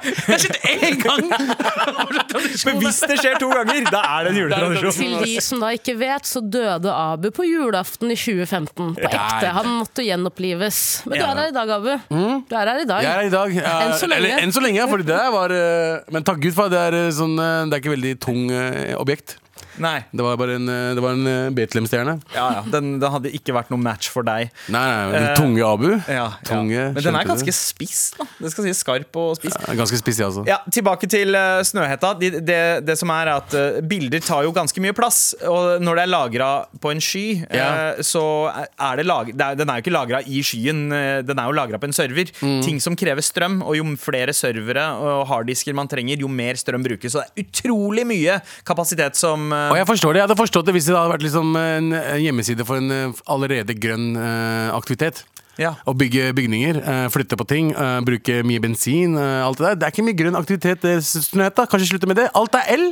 C: Jeg har sett én gang!
B: Men hvis det skjer to ganger, da er det en
A: Til
B: juletradisjon.
A: de som da ikke vet, så døde Abu på julaften i 2015. På ekte. Han måtte gjenopplives. Men du
B: Ja.
A: er her i dag, Abu. Du er her i dag.
C: Mm. Jeg er her i dag. eh,
A: Enn så lenge.
C: Eller, enn så lenge, fordi det der var eh, Men takk Gud for at det er eh, sånn eh, Det er ikke veldig tung eh, objekt.
B: Nei.
C: Det var bare en, eh, det var en eh, Betlehem-stjerne.
B: Ja, ja. Den, den hadde ikke vært noen match for deg.
C: Nei, nei, den
B: Eh,
C: tunge Abu.
B: Ja,
C: tunge,
B: ja. Men den
C: skjønte
B: er
C: du?
B: ganske spiss, da. Det skal sies skarp og spiss.
C: Ja, Ganske spissig, altså.
B: Ja, Tilbake til eh, Snøhetta. De, det, det som er at eh, Bilder tar jo ganske mye plass. Og når det er lagra på en sky, eh,
C: Ja.
B: så er det lag, det er, Den er jo ikke lagra i skyen, eh, den er jo lagra på en server. Ting som krever strøm, og jo flere servere og harddisker man trenger, jo mer strøm brukes. Så det er utrolig mye kapasitet som eh,
C: Og jeg forstår det. Jeg hadde forstått det hvis det hadde vært liksom en hjemmeside for en eh, allerede grønn eh, aktivitet.
B: Ja.
C: Å bygge bygninger, eh, flytte på ting, eh, bruke mye bensin. eh, Alt det der. Det er ikke mye grønn aktivitet. eh, det synes jeg, da. Kanskje slutte med det. Alt er el.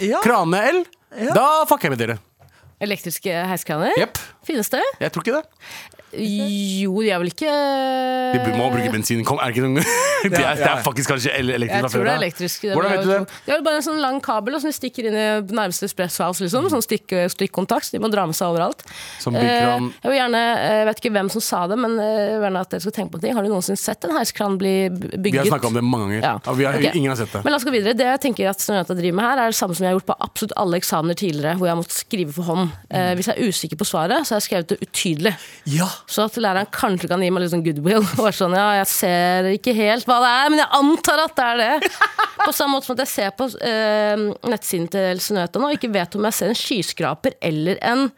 B: Ja.
C: Krane er el. Da fucker jeg med dere.
A: Elektriske heiskraner.
C: Jepp.
A: Finnes det?
C: Jeg tror ikke det.
A: Jo, de er vel ikke
C: De bu-
A: Eh,
C: må bruke bensin. Kom, er det ikke noen det, er, det er faktisk kanskje el elektrisk
A: Jeg
C: fra
A: tror
C: før
A: det er
C: av.
A: elektrisk. er
C: Hvordan vet du
A: jo
C: det?
A: to- Det er jo bare en sånn lang kabel da, som de stikker inn i nærmeste espressohouse. Liksom. Sånn stikk, stikkontakt. så De må dra med seg overalt.
C: Som
A: Eh,
C: bykran
A: jeg vil gjerne, eh, jeg vet ikke hvem som sa det, men eh, jeg vil gjerne at dere skal tenke på en ting. Har du noensinne sett en heiskran bli b- bygget?
C: Vi har snakka om det mange ganger.
A: Ja.
C: Og vi har,
A: Ok.
C: Ingen har sett det.
A: Men la oss gå videre. Det jeg tenker at Snøhetta driver med her, er det samme som jeg har gjort på absolutt alle eksamener tidligere, hvor jeg har måttet skrive for hånd.
C: Mm.
A: Eh, hvis jeg er usikker på svaret, så har jeg skrevet det utydelig.
B: Ja!
A: Så at læreren kanskje kan gi meg litt sånn goodwill. Og være sånn, ja, jeg ser ikke helt hva det er, men jeg antar at det er det. På samme måte som at jeg ser på eh, nettsiden til Snøhetta nå, og ikke vet om jeg ser en skyskraper eller en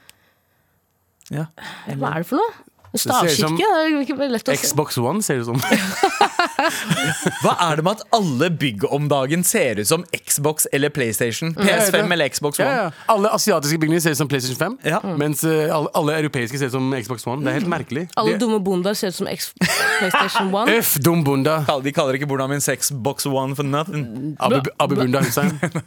B: ja.
A: Hva er det for noe? En
C: ser ut som
A: stavkirke? Det er jo ikke lett å se.
C: Xbox One ser det ut som.
B: Hva er det med at alle bygg om dagen ser ut som Xbox eller PlayStation?
C: Ja, ja,
B: PS5
C: det-
B: eller Xbox
C: Ja,
B: One?
C: ja. Alle asiatiske bygninger ser ut som PlayStation 5,
B: Ja.
A: Mm.
C: mens eh, alle, alle europeiske ser ut som Xbox One. Det er helt merkelig.
A: Alle
C: Det-
A: dumme bondaer ser ut som X PlayStation 1.
C: Øff, dum bunda.
B: Kall- De kaller ikke borna min Xbox One for nothing.
C: Abu, Abu Bunda Hussein. Det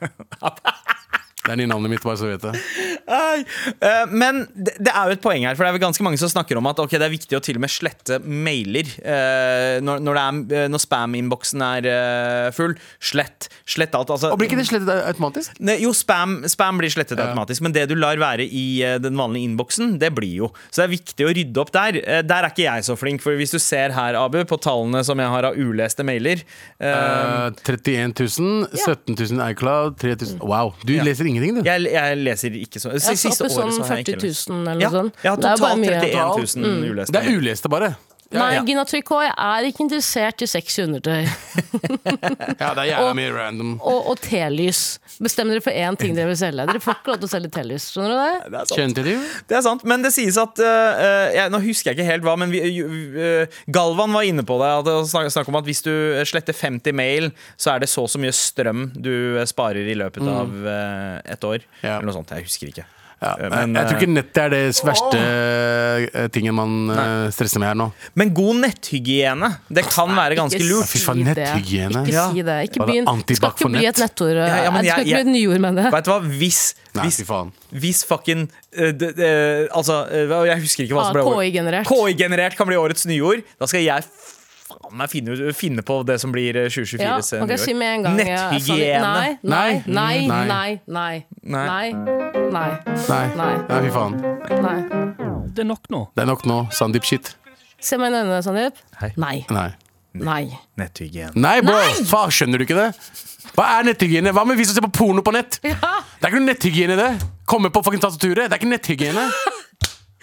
C: er nye navnet mitt, bare så vet jeg.
B: Nei. Eh, Men det det er jo et poeng her, for det er vel ganske mange som snakker om at ok, det er viktig å til og med slette mailer eh, når, når, det er- eh, når spam-innboksen er eh, full. Slett. Slett alt. Altså,
C: Og blir ikke det slettet automatisk?
B: Nei, jo, spam, spam blir slettet automatisk, men det du lar være i eh, den vanlige innboksen, det blir jo. Så det er viktig å rydde opp der. Eh, der er ikke jeg så flink, for hvis du ser her, Abu, på tallene som jeg har av uleste mailer eh,
C: Eh, 31 000, 17 000 iCloud, 3000
A: Mm.
C: Wow, du leser ingenting, du.
B: jeg, jeg leser ikke så
A: Jeg så
B: Siste
A: oppe sånn
B: året så har jeg
A: 40
B: ikke lest.
A: 000 eller noe
B: Ja,
A: sånt.
B: jeg har
A: Det er bare
B: totalt
A: mye. Mm.
B: 31 000 uleste.
C: Det er uleste, bare.
A: Nei,
B: ja.
A: Gina Tricot, jeg er ikke interessert i sexy undertøy.
C: Ja, det er jævla mye random.
A: Og, og telys. Bestem dere for én ting dere vil selge. Dere får ikke lov til å selge telys. Skjønner du det?
B: Det er sant.
C: Skjønte du?
B: Det er sant, men det sies at øh, øh, jeg, Nå husker jeg ikke helt hva, men vi, øh, øh, Galvan var inne på det. At det var snakk, snakk om at Hvis du sletter 50 mail, så er det så og så mye strøm du øh, sparer eh, i løpet av øh, et år.
C: Mm. Ja.
B: Eller noe sånt. Jeg husker ikke.
C: Ja,
B: men,
C: jeg, jeg tror
B: eh,
C: ikke nettet er det verste eh, tingen man eh, stresser med her nå.
B: Men god netthygiene, det kan være ganske
A: Ikke
B: lurt.
C: Fy faen,
A: si det.
C: netthygiene.
A: Ikke
B: Ja.
A: si det. Ikke
C: Var
A: bli
C: det
A: en, det skal
C: antibac
A: ikke
C: for
A: bli
C: nett?
A: et nettord.
B: Ja, ja, men
A: Nei, det skal
B: jeg-
A: ikke bli et nyord, mener jeg.
B: Vet du hva, hvis,
C: Nei,
B: hvis,
C: fy faen.
B: hvis fucking eh, d- eh, Altså, eh, hva- jeg
A: Ah,
B: husker ikke hva som ble året-
A: KI-generert.
B: KI-generert kan bli årets nyord. Da skal jeg faen meg finne, ut- finne på det som blir eh, 2024s
A: Ja,
B: eh,
A: man kan si med en gang ja, sånn-
B: Netthygiene.
A: Nei, nei, nei,
C: Nei.
A: nei, nei, nei,
B: Nei.
A: nei,
C: Nei. Nei.
A: Nei.
C: fy faen.
A: nei.
E: Det er nok nå.
C: Det er nok nå. Sandeep shit.
A: Se meg i øynene, Sandeep.
B: Hei.
A: Nei,
C: Nei.
A: nei.
B: Netthygiene.
C: Nei, bro! Faen, skjønner du ikke det? Hva er netthygiene? Hva med vi som ser på porno på nett? Det er ikke noe netthygiene i det. Komme på fucking tastaturet. Det er ikke netthygiene.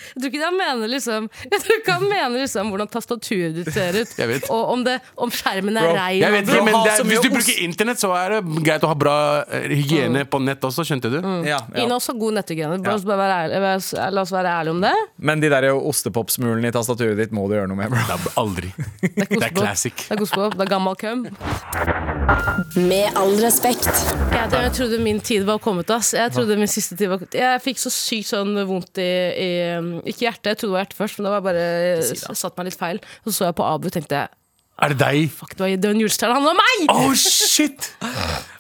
A: Jeg tror ikke han mener liksom Jeg tror ikke han mener liksom hvordan tastaturet ditt ser ut.
C: Jeg vet.
A: Og om, det, om skjermen er
B: Bro,
A: rein.
C: Jeg vet
B: Bro,
C: ikke, men
B: ha
C: det er,
B: så mye
C: Hvis du
B: ost.
C: bruker internett, så er det greit å ha bra eh, hygiene på nett også, skjønte du?
B: Ja,
A: Inn
B: ja.
A: også god netthygiene. La
B: Ja.
A: oss bare være ærlig- la oss- La oss være ærlige om det.
B: Men de der ostepopsmulene i tastaturet ditt må du gjøre noe med, bro.
C: Aldri.
A: Det er
C: Det er
A: kosebok.
C: classic.
A: Det er kosebok. Det er gammel køm.
D: Med all respekt.
A: Jeg, jeg trodde min tid var kommet. ass Jeg trodde min siste tid var kommet Jeg fikk så sykt sånn vondt i, i Ikke hjertet, jeg trodde det var hjertet først, men det var bare jeg satt meg litt feil. Så så jeg på Abu og tenkte jeg,
C: Er det deg?
A: fuck, det var, det var en julestjerne, han var meg!
C: Oh, shit!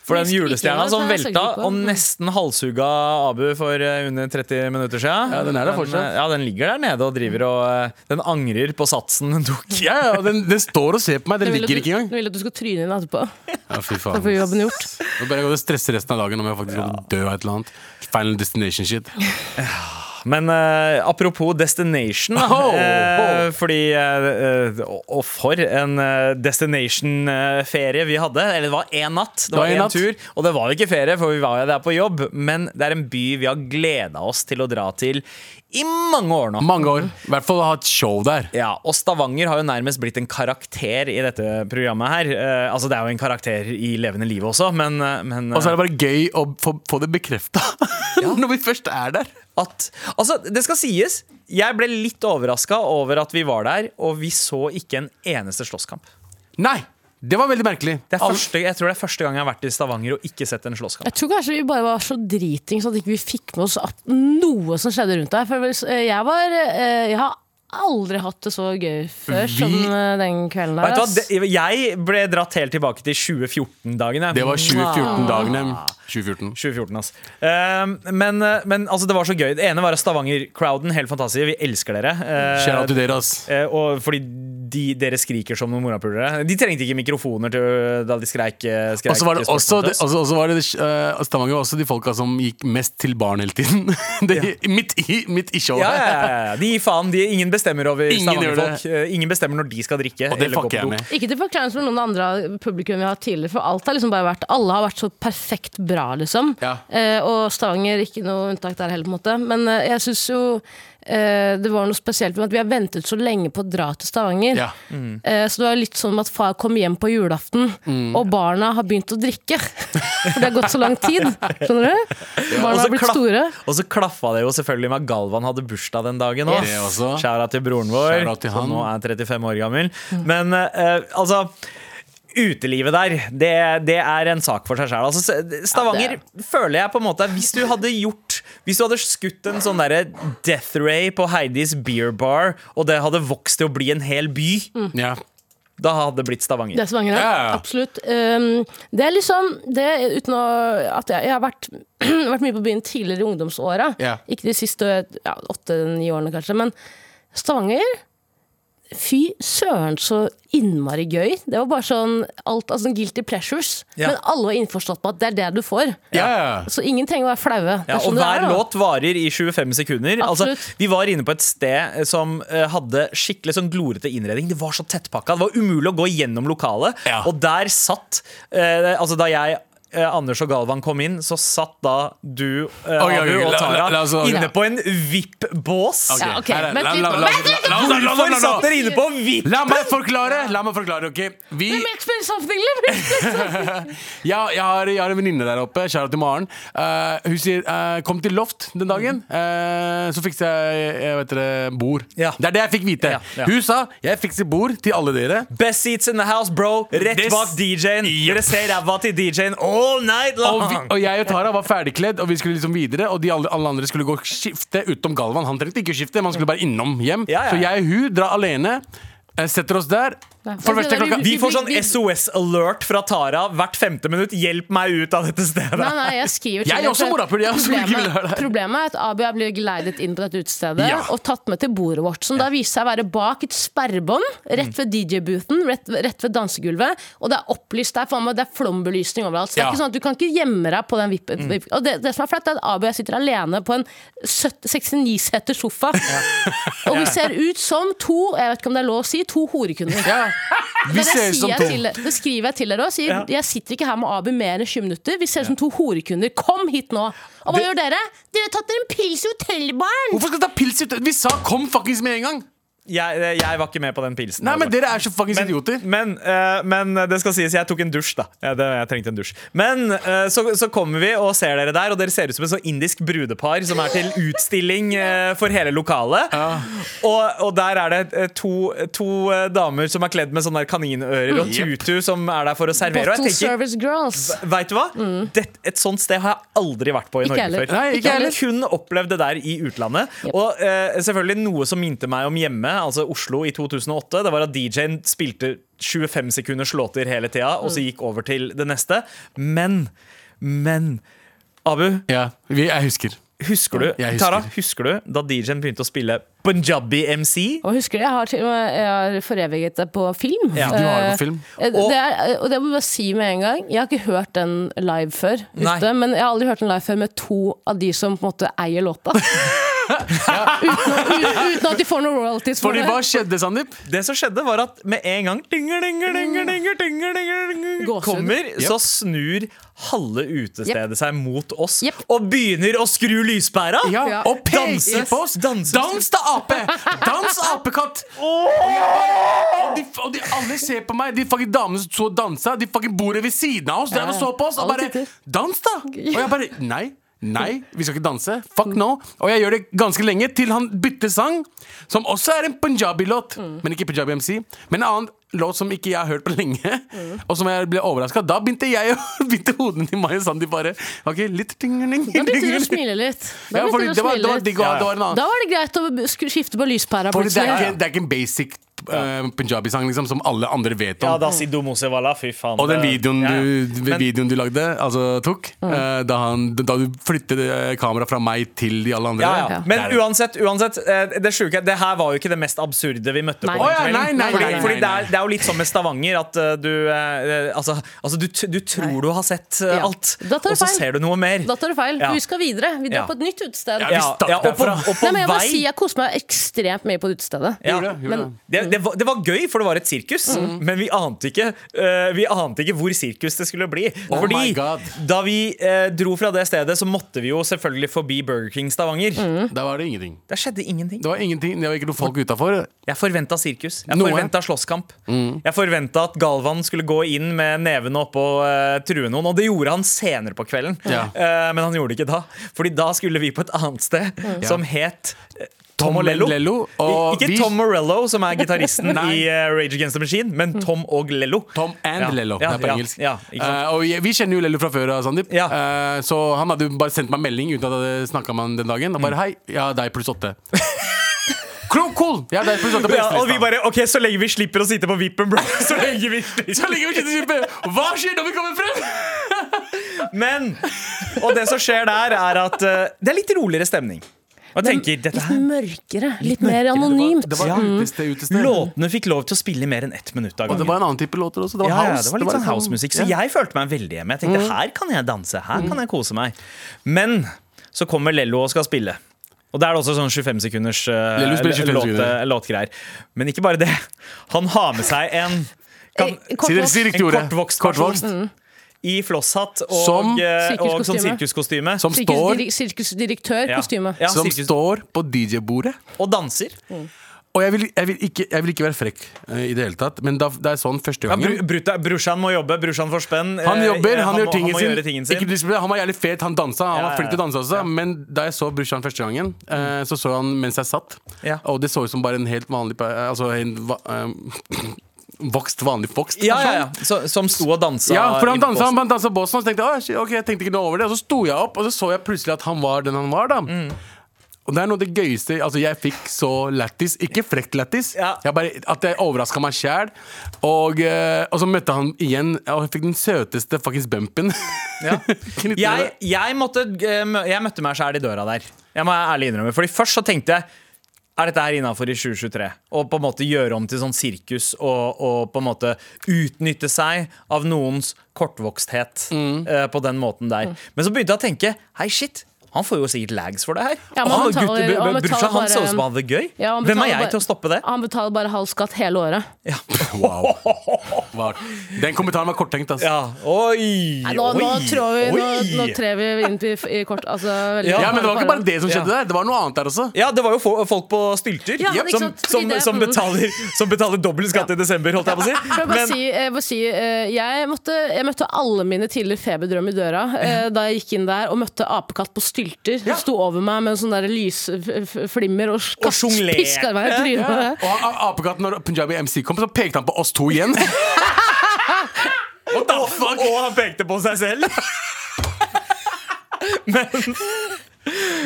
B: For den
A: Jeg husker ikke det,
B: julestjerna
A: Mm.
B: som
A: så jeg søkte
B: velta
A: ikke på
B: og
A: den.
B: nesten halshugga Abu for eh, under 30 minutter siden
C: Ja, den er der fortsatt.
B: eh, Ja, den ligger der nede og driver og eh, Den angrer på satsen den tok.
C: Ja, ja, den, den står og ser på meg. Den
A: Jeg vil at
C: ligger
A: du-
C: ikke engang.
A: Jeg vil at du skal tryne inn etterpå.
C: Ja, fy
A: Da
C: faen.
A: får jobben gjort.
C: Nå bare går det stresse resten av dagen om jeg faktisk kommer til å dø av et eller annet. Final destination shit.
B: Men eh, apropos destination, da.
C: Ho, ho.
B: eh, fordi eh, eh, Og og for en eh, destination-ferie vi hadde. Eller det var én natt. Det var
C: en
B: én
C: natt.
B: tur. Og det var jo ikke ferie, for vi var jo der på jobb. Men det er en by vi har gleda oss til å dra til i mange år nå.
C: Mange år. I hvert fall ha et show der.
B: Ja, og Stavanger har jo nærmest blitt en karakter i dette programmet her. Eh, altså, det er jo en karakter i levende livet også, men, eh, men eh,
C: Og så er det bare gøy å få, få det bekrefta når vi først er der.
B: at Altså, det skal sies. Jeg ble litt overraska over at vi var der, og vi så ikke en eneste slåsskamp.
C: Nei! Det var veldig merkelig.
B: Det er
C: Alle-
B: første, jeg tror det er første gang jeg har vært i Stavanger og ikke sett en slåsskamp.
A: Jeg tror kanskje vi bare var så dritings at ikke vi fikk med oss at noe som skjedde rundt der. For hvis- eh, jeg var eh, Jeg har aldri hatt det så gøy før
C: Vi-
A: som eh, den kvelden der.
B: Vet du hva,
A: ass.
B: det- Jeg ble dratt helt tilbake til 2014-dagen. jeg.
C: Det var 2014-dagene. 2014.
B: 2014, ass. Ehm, men eh, men altså, det var så gøy. Det ene var at Stavanger-crowden. Helt fantastisk. Vi elsker dere. Eh,
C: Shout out til dere, ass.
B: Eh, og fordi de, dere skriker som noen morapulere. De trengte ikke mikrofoner til, da de skreik. eh, skreik
C: Og så var det
B: sportsmot
C: også,
B: oss.
C: det, også, også var det, eh, Stavanger var også de folka som gikk mest til barn hele tiden. Det, midt, i, midt i showet.
B: ja, ja, ja, ja. De gir faen. De, ingen bestemmer over
C: Ingen gjør det.
B: Stavanger-folk. Eh, Ingen bestemmer når de skal drikke.
C: Og det
B: eller gå på
C: fucker jeg
B: do.
C: med.
A: Ikke til forklaring som noen andre av publikum vi har hatt tidligere, for alt har liksom bare vært Alle har vært så perfekt bra, liksom.
C: Ja.
A: Eh, og Stavanger ikke noe unntak der heller, på en måte. Men eh, jeg syns jo eh, det var noe spesielt med at vi har ventet så lenge på å dra til Stavanger.
C: Ja.
A: Eh, så det var litt sånn at far kom hjem på julaften, og barna har begynt å drikke. For det har gått så lang tid. Skjønner du?
B: Og
A: Barna
B: så
A: har blitt
B: klaff-
A: store.
B: Og så klaffa det jo selvfølgelig med at Galvan hadde bursdag den dagen òg.
A: Yes.
C: Det også.
B: Skjæra til broren vår,
C: Shout out til
B: som
C: han.
B: nå er 35 år gammel. Men eh, altså Utelivet der, det, det er en sak for seg sjæl. Altså, s- Stavanger
A: Ja,
B: føler jeg på en måte Hvis du hadde gjort Hvis du hadde skutt en sånn derre Death Ray på Heidis Beer Bar, og det hadde vokst til å bli en hel by,
C: Ja.
B: da hadde det blitt Stavanger.
A: Mm. Det er Stavanger, ja.
C: Ja.
A: Absolutt. Um, det er liksom det, Uten å At jeg, jeg har vært, vært mye på byen tidligere i ungdomsåra.
C: Ja.
A: Ikke de siste ja, åtte-ni årene, kanskje. Men Stavanger Fy søren, så innmari gøy. Det var bare sånn alt, altså guilty pleasures.
B: Ja.
A: Men alle var innforstått med at det er det du får.
C: Ja.
A: Så ingen trenger å være flaue. Det er
B: Ja, og
A: sånn det er,
B: hver
A: da.
B: låt varer i 25 sekunder. Altså,
A: Absolutt.
B: vi var inne på et sted som eh, hadde skikkelig sånn glorete innredning. Det var så tettpakka. Det var umulig å gå gjennom lokalet.
C: Ja.
B: Og der satt eh, Altså, da jeg eh, Anders og Galvan kom inn, så satt da du, eh,
C: Oi, oi,
B: Abu
C: oi,
B: og
C: la-
B: Tara
C: la- la oss-
B: inne
A: Ja.
B: på en VIP-bås.
C: Ok,
A: Ja, ok,
C: her er-
A: vent
C: la-
A: litt
C: la-
A: nå.
C: la-
A: Vent litt
C: la- la- la- la- la-
B: Hvorfor
C: la-
B: satt dere inne på VIP?
C: La meg forklare! La meg forklare, ok? Vi,
A: Let me explain something, let me explain something.
C: jeg, jeg, har, jeg har en venninne der oppe. Kjære til Maren. Eh, hun sier eh, 'kom til Loft' den dagen. eh, så fikser jeg, jeg vet dere, bord.
B: Ja.
C: Det er det jeg fikk vite.
B: Ja, ja.
C: Hun sa 'jeg fikser bord til alle dere'.
B: Best seats in the house, bro. Rett
C: This-
B: bak DJ-en. Dere ser ræva til DJ-en. Å, all night long!
C: Og, vi, og jeg og Tara var ferdigkledd, og vi skulle liksom videre. Og de alle, alle andre skulle gå og skifte utenom Galvan. Han trengte ikke å skifte, man skulle bare innom hjem.
B: Ja, ja, ja.
C: Så jeg og hun drar alene, eh, setter oss der.
A: Nei. altså,
C: For det første klokka
B: Vi får sånn SOS-alert fra Tara hvert femte minutt. Hjelp meg ut av dette stedet!
A: Nei, nei, jeg skriver til
C: Jeg er
A: deg,
C: også
A: for
C: morapuler, jeg også ikke vil være
A: Problemet,
C: der.
A: problemet er at Abu er blitt geleidet inn på dette utestedet
C: Ja.
A: og tatt med til bordet vårt, som da viser seg å være bak et sperrebånd,
C: Mm.
A: rett ved DJ-booten, rett, rett ved dansegulvet, og det er opplyst der, faen meg, det er flombelysning overalt. Så det
C: Ja.
A: er
C: Mm.
A: ikke sånn at du kan ikke gjemme deg på den vippen. Og det, det som er flaut, er at Abu og jeg sitter alene på en 69-seter sofa, og vi ser ut som to, jeg vet ikke om det er lov å si, to horekunder.
C: Ja. Vi
A: Men det,
C: ser ut
A: sier
C: som
A: jeg
C: to.
A: til, det skriver jeg til dere òg.
B: Ja.
A: Jeg sitter ikke her med Abu mer enn 20 minutter. Vi ser ut som to horekunder. Kom hit nå! Og hva
B: Det-
A: gjør dere? Dere har tatt dere en pils i hotellbaren!
C: Hvorfor skal du ta pils ut? Vi sa kom fuckings med en gang!
B: Jeg, eh, jeg var ikke med på den pilsen.
C: Nei, men
B: altså.
C: dere er så fuckings
B: men,
C: idioter.
B: men, eh, men det skal sies, jeg tok en dusj, da. Ja, det, jeg trengte en dusj. Men eh, så, så kommer vi og ser dere der, og dere ser ut som et så indisk brudepar som er til utstilling eh, for hele lokalet. Og, og der er det eh, to, to eh, damer som er kledd med sånne der kaninører og
C: Jep.
B: tutu, som er der for å servere. Og
A: Bottle
B: jeg tenker,
A: Service Girls.
B: Vet du hva? Det, et sånt sted har jeg aldri vært på i
A: Ikke
B: Norge
A: heller.
B: før.
C: Nei, ikke
B: jeg har
C: heller.
B: kun opplevd det der i utlandet.
A: Yep.
B: Og eh, selvfølgelig noe som minte meg om hjemme, altså Oslo i 2008, det var at DJ-en spilte 25 sekunders låter hele tida, og så gikk over til det neste. Men, men Abu,
C: Ja, vi, jeg husker.
B: husker du,
C: Jeg husker.
B: Tara, husker du da DJ-en begynte å spille Punjabi MC?
A: Og husker du, jeg har, til og med- jeg har foreviget det på film.
B: Ja,
C: Du har det
A: Eh,
C: på film.
A: Eh,
B: Og-
A: Det er, og det må jeg bare si med en gang. Jeg har ikke hørt den live før.
B: Nei.
A: Ute, men jeg har aldri hørt den live før med to av de som på en måte eier låta. uten, uten at de får noe royalties. for
C: Fordi
A: det.
C: hva skjedde, Sandeep?
B: Det som skjedde var at med en gang dinger, dinger, dinger, dinger, dinger, dinger, dinger,
A: Mm. Gåsehud.
B: kommer, så
C: Yep.
B: snur halve utestedet seg mot oss
A: Yep.
B: og begynner å skru lyspæra.
C: Ja,
A: Ja.
C: Og peke
B: Danse.
C: på oss!
B: Danse.
C: Dans, da, ape! Dans, apekatt! Og, de, og de alle ser på meg. De fucking damene som så dansa, de fucking bordet ved siden av oss, drev og så på oss og
A: Alle
C: bare
A: titter.
C: Dans, da! Og jeg bare Nei. Nei, vi skal ikke danse. Fuck no. Og jeg gjør det ganske lenge, til han bytter sang, som også er en punjabi-låt.
A: Mm.
C: Men ikke punjabi MC. Men en annen låt som ikke jeg har hørt på lenge.
A: Mm.
C: Og som jeg ble overraska. Da begynte jeg å begynte hodene til meg og Sandeep bare Ok, litt tingeling,
A: Da begynte dere å
C: tingeling.
A: smile litt. Da,
C: Ja,
A: begynte
C: fordi
A: dere å
C: det var,
A: smile
C: det var
A: litt.
C: digg å ha-
B: Ja, ja.
C: det var en annen.
A: da var det greit å b- skulle skifte på lyspæra.
C: Fordi det er
A: plutselig.
C: ikke, det er ikke en basic eh, punjabi-sang liksom, som alle andre vet om.
B: Ja, da si domosevala, fy faen.
C: og den
B: det-
C: videoen
B: Ja, ja.
C: du,
B: Men-
C: videoen du lagde, altså tok, eh, da, han, da du flyttet eh, kameraet fra meg til de alle andre
B: ja, ja.
A: Ja.
B: Men uansett, uansett eh, det, sjuke, det her var jo ikke det mest absurde vi møtte
A: Nei.
B: på. den
A: Å,
C: ja, nei,
B: kvelden.
C: nei,
B: fordi
A: nei,
B: fordi
C: nei,
B: det,
C: nei.
B: er, det er jo litt som med Stavanger, at eh, du eh, Altså, altså du, t- du tror du har sett eh,
A: Ja.
B: alt,
A: Da tar du
B: og så
A: feil.
B: ser du noe mer.
A: Da tar du feil.
B: Ja.
A: Vi skal videre. Vi drar
B: Ja.
A: på et nytt utested.
C: Ja, vi stakk
B: og på,
C: derfra.
B: og på
A: Nei, men jeg må
B: vei
A: si jeg koser meg ekstremt mye på det utestedet.
B: Ja,
C: Gjorde det, gjorde
A: men-
B: det, det, var, det var gøy, for det var et sirkus,
C: Mm.
B: men vi ante, ikke, eh, vi ante ikke hvor sirkus det skulle bli.
C: Oh
B: Fordi
C: my God.
B: da vi eh, dro fra det stedet, så måtte vi jo selvfølgelig forbi Burger King Stavanger.
C: det. Da var det ingenting.
B: Der skjedde ingenting.
C: Det var ingenting, det var ikke noe folk utafor.
B: Jeg forventa sirkus. Jeg
C: Noe.
B: forventa slåsskamp. Jeg forventa at Galvan skulle gå inn med nevene opp og eh, true noen. Og det gjorde han senere på kvelden,
C: Ja.
B: Eh, men han gjorde det ikke da. Fordi da skulle vi på et annet sted som het eh, Tom og Lello.
C: Lello, og
B: ikke
C: vi-
B: Tom Morello, som er gitaristen
C: Nei. Mm.
B: i eh, Rage Against the Machine, men Tom og Lello.
C: Tom and
B: Ja,
C: Lello.
B: ja,
C: det er på
B: ja,
C: engelsk.
B: ja, ikke sant.
C: Eh, og jeg, vi kjenner jo Lello fra før, av, Sandeep.
B: Ja.
C: Eh, så han hadde jo bare sendt meg melding uten at jeg hadde snakka med han den dagen. Og
B: Mm.
C: bare hei, jeg har deg pluss åtte. Cool, cool! Jeg har deg pluss åtte Eh, på
B: Ja, og vi
C: gjestelista.
B: bare OK, så lenge vi slipper å sitte på vippen, bro. Så lenge vi slipper.
C: Så ligger vi ikke til skipet. Hva skjer når vi kommer frem?
B: Men! Og det som skjer der, er at eh, det er litt roligere stemning. Og jeg tenker, dette
A: Litt
B: her
A: mørkere. Litt mer anonymt. Mm.
C: Det var, det var utested, utested.
B: Låtene fikk lov til å spille mer enn ett minutt av
C: Og det
B: gangen.
C: var en annen type låter også. Det var
B: ja, ja,
C: house.
B: det var litt sånn housemusikk. Så
C: ja. Mm.
B: jeg følte meg veldig hjemme. Jeg tenkte her kan jeg danse, her kan jeg kose meg. Men så kommer Lello og skal spille. Og da er det også sånn 25 sekunders eh,
C: Lello spiller 25
B: låt-
C: sekunder.
B: låtgreier. Men ikke bare det. Han har med seg en, kan,
A: Eh, kort
C: Si det-
A: vokst.
C: si det
B: en
C: riktig ordet.
B: kortvokst
C: Kortvokst.
B: person Mm. i flosshatt og,
C: Som-
B: eh, og sånn
A: Sirkuskostyme.
B: sirkuskostyme.
C: Som står,
A: Sirkusdirek- Sirkusdirektør,
B: Ja.
A: kostyme.
B: Ja,
C: som
B: sirkus-
C: står på DJ-bordet.
B: Og danser.
C: Og jeg vil, jeg, vil ikke, jeg vil ikke være frekk eh, i det hele tatt, men da, det er sånn første
B: Ja,
C: gangen.
B: bru- bruta- Mm. brorsan må jobbe, brorsan får spenn.
C: Han
B: Eh,
C: jobber, han, gjør
B: må-
C: tingen
B: må
C: sin.
B: gjøre tingen sin.
C: Ikke disiplinert, han var jævlig fet, han dansa. Han
B: Ja,
C: var flink til å danse også.
B: ja.
C: Men da jeg så brorsan første gangen, eh, så så han mens jeg satt.
B: Ja.
C: Og det så ut som bare en helt vanlig pe- eh, Altså en va- eh, vokst, vanlig vokst
B: Ja, ja,
C: person.
B: ja. Så, som sto og dansa.
C: Sånn? Ja, for han
B: i
C: dansa,
B: posten.
C: han dansa Boston, og så tenkte jeg, «Å, shit, ok, jeg tenkte ikke noe over det. Og så sto jeg opp, og så så jeg plutselig at han var den han var. da Og det er noe av det gøyeste Altså, jeg fikk så lættis. Ikke frekt lættis.
B: Ja.
C: Jeg bare- At jeg overraska meg sjæl. Og, eh, og så møtte han igjen, og han fikk den søteste fuckings bumpen.
B: Ja.
C: Knyttet
B: Jeg,
C: det.
B: jeg, måtte, eh, mø- jeg møtte meg sjæl i døra der. Jeg må ærlig innrømme Fordi Først så tenkte jeg er dette her innafor i 2023? Og på en måte gjøre om til sånn sirkus og, og på en måte utnytte seg av noens kortvoksthet
A: Mm.
B: eh, på den måten der. Men så begynte jeg å tenke hei, shit, han får jo sikkert lags for det her.
A: Ja,
B: og
A: men
B: han,
A: han
B: gutt-
A: betaler-
B: br- br-
A: han
B: brorsan,
A: betaler
B: han så
A: bare-
B: ut som han hadde det gøy.
A: Ja, han
B: Hvem
A: betaler
B: er jeg
A: bare- Ah.
B: til å stoppe det?
A: Han betaler bare halv skatt hele året.
C: Wow. Var- Den kommentaren var korttenkt, altså.
B: Ja, oi,
A: Nei, nå, nå,
B: oi,
A: tror vi, nå,
B: oi.
A: nå trer vi inn i, i kort altså, veldig-
B: Ja,
C: Ja, men det var ikke bare det som skjedde
B: Ja.
C: der. Det var noe annet der også.
B: Ja, det var jo fo- folk på stylter
A: Ja,
B: Jep.
A: ikke
B: som,
A: sant? Fordi
B: som,
A: det-
B: som, betaler, som betaler dobbelt skatt i desember, holdt jeg på å si.
A: Jeg, må bare
B: Men,
A: si, jeg, må si, eh, jeg, måtte, jeg møtte alle mine tidligere feberdrøm i døra eh, da jeg gikk inn der og møtte apekatt på stylter.
C: Ja.
A: Sto over meg med en sånn der lysflimmer og,
B: Og
A: katt-
B: jonglerte.
A: piska meg i trynet.
C: Og han- apekatten, når Punjabi MC kom, så pekte han på oss to igjen. What the fuck?
B: og han pekte på seg selv. Men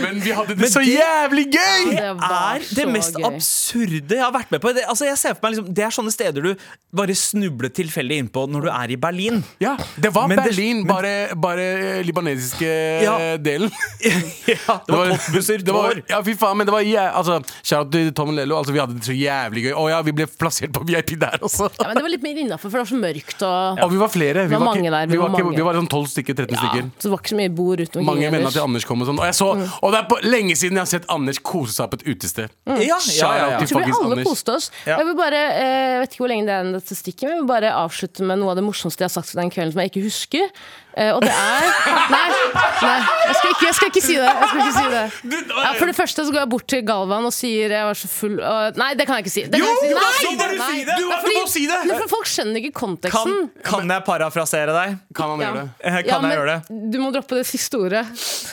C: Men vi hadde det
B: Men
C: så
B: det-
C: jævlig gøy!
A: Det var
B: er det
A: så
B: mest
A: gøy.
B: absurde jeg har vært med på. Det, altså, jeg ser for meg liksom, det er sånne steder du bare snubler tilfeldig innpå når du er i Berlin.
C: Ja, Det var
B: Men det-
C: Berlin,
B: men-
C: bare, bare libanesiske eh,
B: Ja.
C: delen.
B: Ja, det var postbusser
C: det
B: to
C: var-
B: år.
C: Ja, fy faen, men det var jæ... Altså, Shout til Tom Lello. Altså, vi hadde det så jævlig gøy. Å ja, vi ble plassert på VIP der også.
A: Ja, men det var litt mer innafor, for det var så mørkt. Og,
C: Og vi var flere.
A: Det
C: Vi
A: var
C: ikke-
A: mange der, vi
C: Vi var,
A: var
C: ikke,
A: mange.
C: vi var sånn 12 stykker, 13
A: ja,
C: stykker.
A: så det var ikke så mye Mm. bord rundt omkring.
C: Mange venner
A: ellers.
C: til Anders kom og sånn. Og, jeg så, og det er på, lenge siden jeg har sett Anders kose seg på et utested.
A: Mm.
B: Ja, ja, ja, ja.
A: Jeg tror vi
C: Fuckings
A: alle
C: Anders.
A: koste oss.
B: Ja.
A: Jeg vil bare, eh, jeg vet ikke hvor lenge det er dette stikket, men jeg vil bare avslutte med noe av det morsomste jeg har sagt den kvelden som jeg ikke husker. Eh, og det er Nei, nei jeg, skal ikke, jeg skal ikke si det. Jeg skal ikke si det. Ja, for det første så går jeg bort til Galvan og sier jeg var så full og, Nei, det kan jeg ikke si. Det kan
B: Jo,
A: jeg
B: jo,
A: ikke
B: da må du
A: Nei,
B: si
A: nei.
B: det. Du
A: Ja,
B: må-
A: fordi-
C: du må si det.
A: Nei, for Folk skjønner ikke konteksten.
B: Kan, kan jeg parafrasere deg?
C: Kan han
A: Ja.
C: gjøre det?
B: Eh, Kan
A: Ja, men
B: jeg gjøre det?
A: Du må droppe det siste ordet.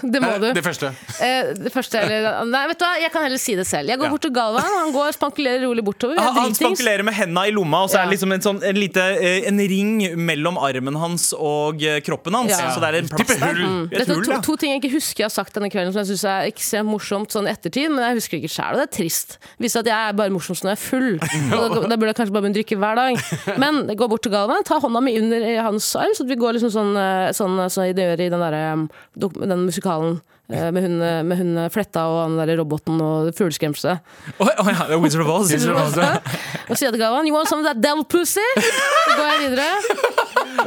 A: Det må du.
C: Eh, Det første.
A: Eh, det første eller, Nei, vet du hva, jeg kan heller si det selv. Jeg går
B: Ja.
A: bort til Galvan, han går spankulerer rolig bortover.
B: Han, han
A: Jeg er dritings.
B: spankulerer med henda i lomma, og så er det
A: Ja.
B: liksom en, sånn, en, lite, eh, en ring mellom armen hans og eh,
A: Ja.
B: kroppen hans.
A: Mm.
B: Så det er en plass
C: Type
B: der.
C: hull.
B: Et
A: Dette er
B: hull,
A: to,
B: ja.
A: to ting jeg ikke husker jeg har sagt denne kvelden som jeg syns er ekstremt morsomt sånn i ettertid, men jeg husker ikke sjæl, og det er trist. Viser at jeg er bare morsomst når jeg er full. Og Da, da burde jeg kanskje bare begynne å drikke hver dag. Men jeg går bort til Galvan, tar hånda mi under eh, hans arm, så at vi går liksom sånn, eh, sånn, eh, sånn de gjør i den, der, eh, dok- den musikalen. eh, Med hun, eh, med hun eh, fletta og han der roboten og fugleskremselet.
B: Oi, oi, ja, det er Wizard of Oz.
A: Og sier til Galvan 'You want some of that devil pussy?' Så går jeg videre.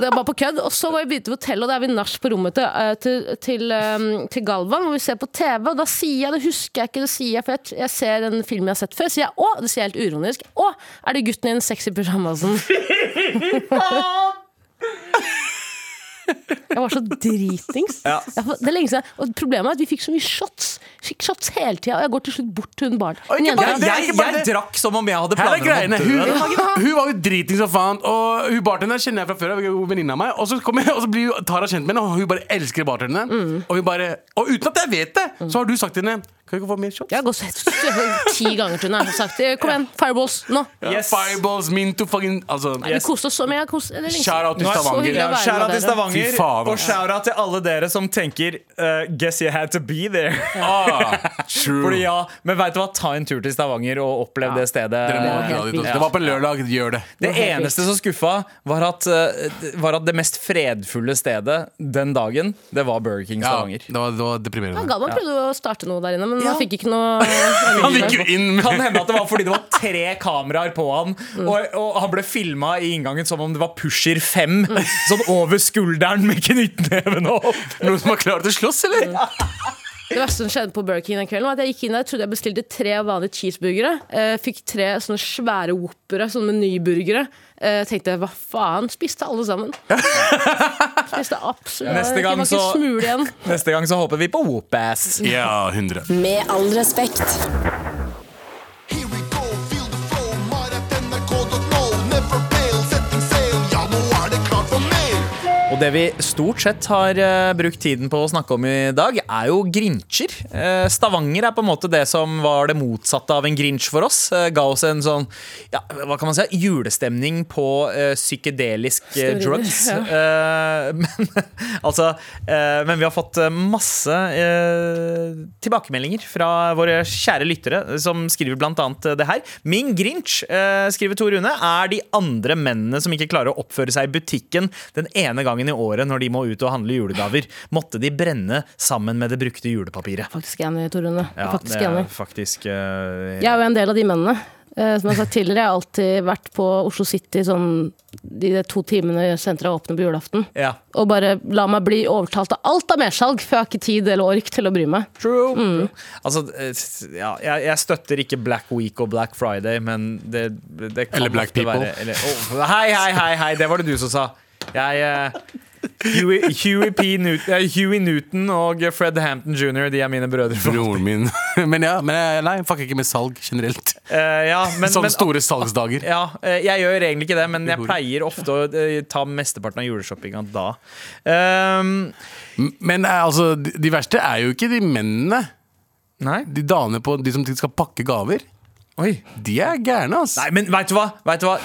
A: Det er bare på kødd. Og så var vi begynte på hotellet, og der er vi nach på rommet til, eh, til, til, eh, til Galvan. Hvor vi ser på TV, og da sier jeg det husker jeg ikke, det sier jeg, for jeg, jeg ser en film jeg har sett før. Sier jeg 'Å', det sier jeg helt uironisk. 'Å, er det gutten i den sexy pysjamasen?' Jeg var så dritings.
B: Ja.
A: Jeg får- Det er lenge siden. Og problemet er at vi fikk så mye shots. Fikk shots hele tida. Og jeg går til slutt bort til hun barn.
C: Og ikke
A: Hun jenta-
C: bare
B: Jeg,
C: det er
B: jeg,
C: ikke bare det.
B: drakk som om jeg hadde
C: Her er
B: planer om
C: greiene.
B: å
C: Hun,
B: dø.
C: hun var jo driting som faen. Og hun bartenderen kjenner jeg fra før. Hun er venninne av meg Og så, kommer, og så blir hun- Tara kjent med henne, og hun bare elsker bartenderne.
B: Mm.
C: Og, hun bare, og uten at jeg vet det, så har du sagt til henne Kan vi ikke få mer shots?
A: Jeg har gått ti ganger til henne og sagt kom igjen, fireballs, nå.
C: Ja,
B: Yes.
C: Fireballs min to fucking altså,
A: Vi koste oss så mye. jeg koste- det er lenge siden.
C: Shout out til
A: Nå er det så
C: Stavanger.
A: hyggelig å
B: Ja,
A: være
B: Skjæra
A: med
B: til
A: dere.
B: Stavanger,
C: Fy faen,
B: og
C: ass.
B: skjæra til alle dere som tenker eh, Guess you had to be there.
C: Ah, true.
B: Fordi ja, Men veit du hva, ta en tur til Stavanger og opplev det stedet.
C: Dere må
A: helt
C: dra dit
A: vilt.
C: også. Det var på lørdag. Gjør det.
B: Det
A: helt vilt.
B: eneste som skuffa, var at, eh, var at det mest fredfulle stedet den dagen, det var Burger King
C: Ja,
B: Stavanger.
C: det, var, det var deprimerende.
A: Galvan prøvde å starte noe der inne, men
B: Ja.
A: han fikk ikke noe
C: Han gikk jo inn med
B: Kan hende at det var fordi det var tre kameraer på han,
A: Mm.
B: og, og han ble filma i inngangen som om det var Pusher 5. Sånn over skulderen med knyttneven og opp.
C: noen som har klart å slåss, eller?
B: Mm.
A: Det verste som skjedde på Burger King den kvelden, var at jeg gikk inn der trodde jeg bestilte tre vanlige cheeseburgere. eh, Fikk tre sånne svære whoopere, sånne menyburgere. Eh, Tenkte jeg, hva faen? Spiste alle sammen. Spiste absolutt
B: Neste
A: Det var
B: gang
A: ikke
B: så-
A: smule igjen.
B: Neste gang så håper vi på Whoop-ass.
C: Ja, 100.
D: Med all respekt.
E: Here we go, feel the flow, mar.nrk.no. Never fail, setting sail, ja, nå er det klart for mer.
B: Og Og det vi stort sett har eh, brukt tiden på å snakke om i dag, er jo grincher. Eh, Stavanger er på en måte det som var det motsatte av en grinch for oss. Eh, ga oss en sånn ja, hva kan man si, julestemning på eh, psykedelisk eh,
A: Steroider,
B: drugs.
A: ja.
B: Eh, men, altså, eh, men vi har fått eh, masse eh, tilbakemeldinger fra våre kjære lyttere, som skriver bl.a. det her. Min grinch, eh, skriver Tor Rune, er de andre mennene som ikke klarer å oppføre seg i butikken den ene gangen i året når de må ut og handle julegaver. Måtte de brenne sammen med det brukte julepapiret.
A: Faktisk enig, Torunne.
B: Ja,
A: faktisk
B: det er
A: enig.
B: faktisk eh,
A: Jeg er jo en del av de mennene. Eh, Som jeg har sagt tidligere, jeg har alltid vært på Oslo City sånn, de der to timene senteret åpner på julaften.
B: ja.
A: Og bare la meg bli overtalt av alt av mersalg, for jeg har ikke tid eller ork til å bry meg.
B: True. True. Altså, eh, ja, jeg, jeg støtter ikke Black Week og Black Friday, men det, det kan
C: Eller Black
B: ofte
C: People.
B: Være, eller, Å, hei, hei, hei, hei, det var det du som sa. Jeg eh, Huey, Huey, P. Newton, eh, Huey Newton og Fred Hampton jr. De er mine brødre.
C: Broren min. men ja, men jeg- nei, fucker ikke med salg generelt.
B: Eh, ja, men,
C: Sånne
B: men,
C: store salgsdager.
B: ja, eh, jeg gjør egentlig ikke det, men jeg
C: Hore.
B: pleier ofte å eh, ta mesteparten av juleshoppinga da. Ehm,
C: Men eh, altså, de de verste er jo ikke de mennene.
B: nei.
C: De damene på de som skal pakke gaver.
B: Oi.
C: De er gærne, ass.
B: Nei, men vet du hva? Vet du hva?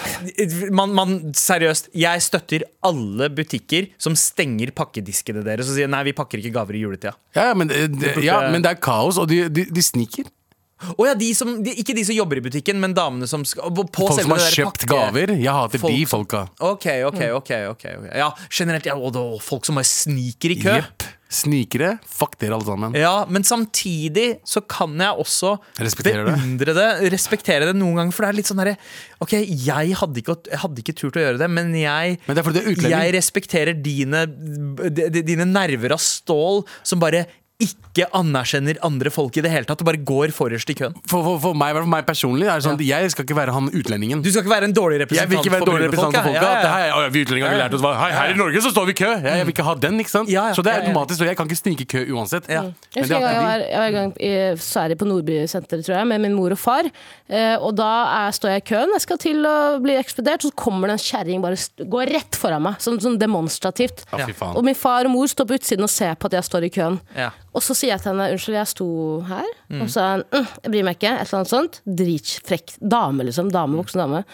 B: Man, man, seriøst, jeg støtter alle butikker som stenger pakkediskene deres og sier nei, vi pakker ikke gaver i juletida.
C: Ja, ja, men, det- det- ja,
B: burde-
C: men det er kaos, og de, de, de sniker.
B: Å ja, de som, de, ikke de som jobber i butikken, men damene som skal på
C: Folk
B: selve
C: som har
B: det der
C: kjøpt
B: pakke-
C: gaver. Jeg hater
B: Folk
C: de
B: som-
C: folka.
B: Ok, ok, ok. ok, ok. Ja, generelt. Ja, og da, folk som bare sniker i kø. Eh.
C: Jepp. Snikere. Fuck dere, alle sammen.
B: Ja, men samtidig så kan jeg også
C: Respektere det.
B: beundre det. Respektere det noen ganger, for det er litt sånn derre Ok, jeg hadde ikke, jeg hadde ikke turt å gjøre det, men jeg
C: Men det er fordi du er utlending.
B: Jeg respekterer dine, d- d- dine nerver av stål som bare ikke anerkjenner andre folk i det hele tatt, og bare går forrest i køen.
C: For, for, for, meg, for meg personlig er det sånn at jeg skal ikke være han utlendingen.
B: Du skal ikke være en dårlig
C: Jeg vil
B: representant
C: ikke være dårlig
B: brune folk,
C: representant for folka.
B: ja.
C: at det
B: Ja, ja,
C: her, å, ja, vi utlendinger har
B: Ja,
C: ikke
B: ja.
C: lært oss hva hei, Her i Norge så står vi i kø! Jeg, jeg vil ikke ha den, ikke sant?
B: Ja, ja.
C: Så det
B: Ja,
C: er
B: ja.
C: automatisk, og jeg kan ikke snike i kø uansett.
B: Ja.
C: Men
A: Jeg
C: det
A: husker jeg
C: er
A: var, jeg var en gang i Sverige på Nordbysenteret, tror jeg, med min mor og far. Eh, og da er, står jeg i køen, jeg skal til å bli ekspedert, så kommer det en kjerring bare st- går rett foran meg, sånn, sånn demonstrativt.
C: Ja, fy faen.
A: Og min far og mor står på utsiden og ser på at jeg står i køen.
B: Ja.
A: Og så sier jeg til henne 'unnskyld, jeg sto her', og så er han mm, 'jeg bryr meg ikke', et eller annet sånt. Dritfrekk dame, liksom. Dame, voksen dame.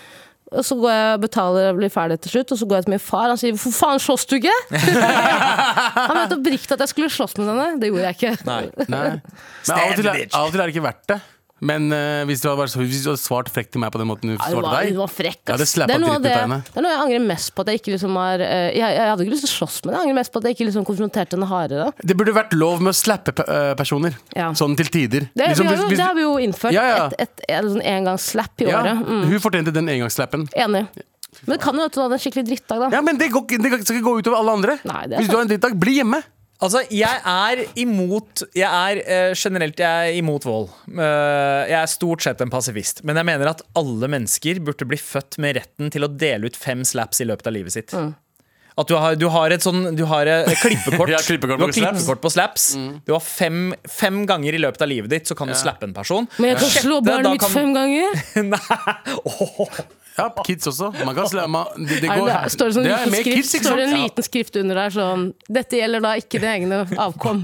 A: Og så går jeg og betaler og blir ferdig til slutt, og så går jeg til min far, han sier 'hvorfor faen slåss du ikke?' han mente oppriktig at jeg skulle slåss med henne. Det gjorde jeg ikke.
B: Nei.
C: Nei. Men av og, til, er- av og til er det ikke verdt det. Men eh, hvis, du hadde vært, så- hvis du hadde svart frekt til meg på den måten du
A: Ja, Hun
C: svarte
A: var,
C: deg
A: hun var frekk.
C: Ja, det
A: ass.
C: slappet
A: er noe av
C: dritten
A: det,
C: ut av henne.
A: det er noe jeg angrer mest på. At jeg ikke liksom har eh, jeg, jeg hadde ikke lyst til å slåss med henne. Jeg angrer mest på at jeg ikke liksom konfronterte henne hardere.
C: Det burde vært lov med å slappe pe- eh, personer.
A: Ja.
C: Sånn til tider.
A: Det,
C: Liksom,
A: vi har, jo-
C: hvis- hvis-
A: det har vi jo innført.
C: Ja, ja.
A: Et, et, et, sånn engangsslapp i
C: ja,
A: året. Mm.
C: Hun fortjente den engangsslappen.
A: Enig. Men det kan jo at hun hadde en skikkelig drittdag, da.
C: Ja, men det, går, ikke- det skal ikke gå utover alle andre.
A: Nei, det er
C: hvis du har en drittdag, bli hjemme!
B: Altså, jeg er imot Jeg er eh, generelt jeg er imot vold. Eh, jeg er stort sett en pasifist. Men jeg mener at alle mennesker burde bli født med retten til å dele ut fem slaps i løpet av livet sitt.
A: Mm.
B: At du har, du har et sånn Du har et klippekort.
C: Ja, klippekort
B: du har
C: på slaps. Mm.
B: klippekort på slaps. Du har fem, fem ganger i løpet av livet ditt, så kan du slappe en person.
A: Men jeg kan
B: Sjette,
A: slå
B: da
A: barnet mitt
B: kan-
A: fem ganger!
B: Nei. Åh.
C: Ja, Kids også. Man kan sla, man, det, det
A: Er
C: går,
A: det, står det, sånn
C: det er sånn-
A: liten
C: med
A: skrift,
C: kids, ikke
A: står det en
C: sant?
A: liten skrift under der sånn Dette gjelder da ikke det egne avkom.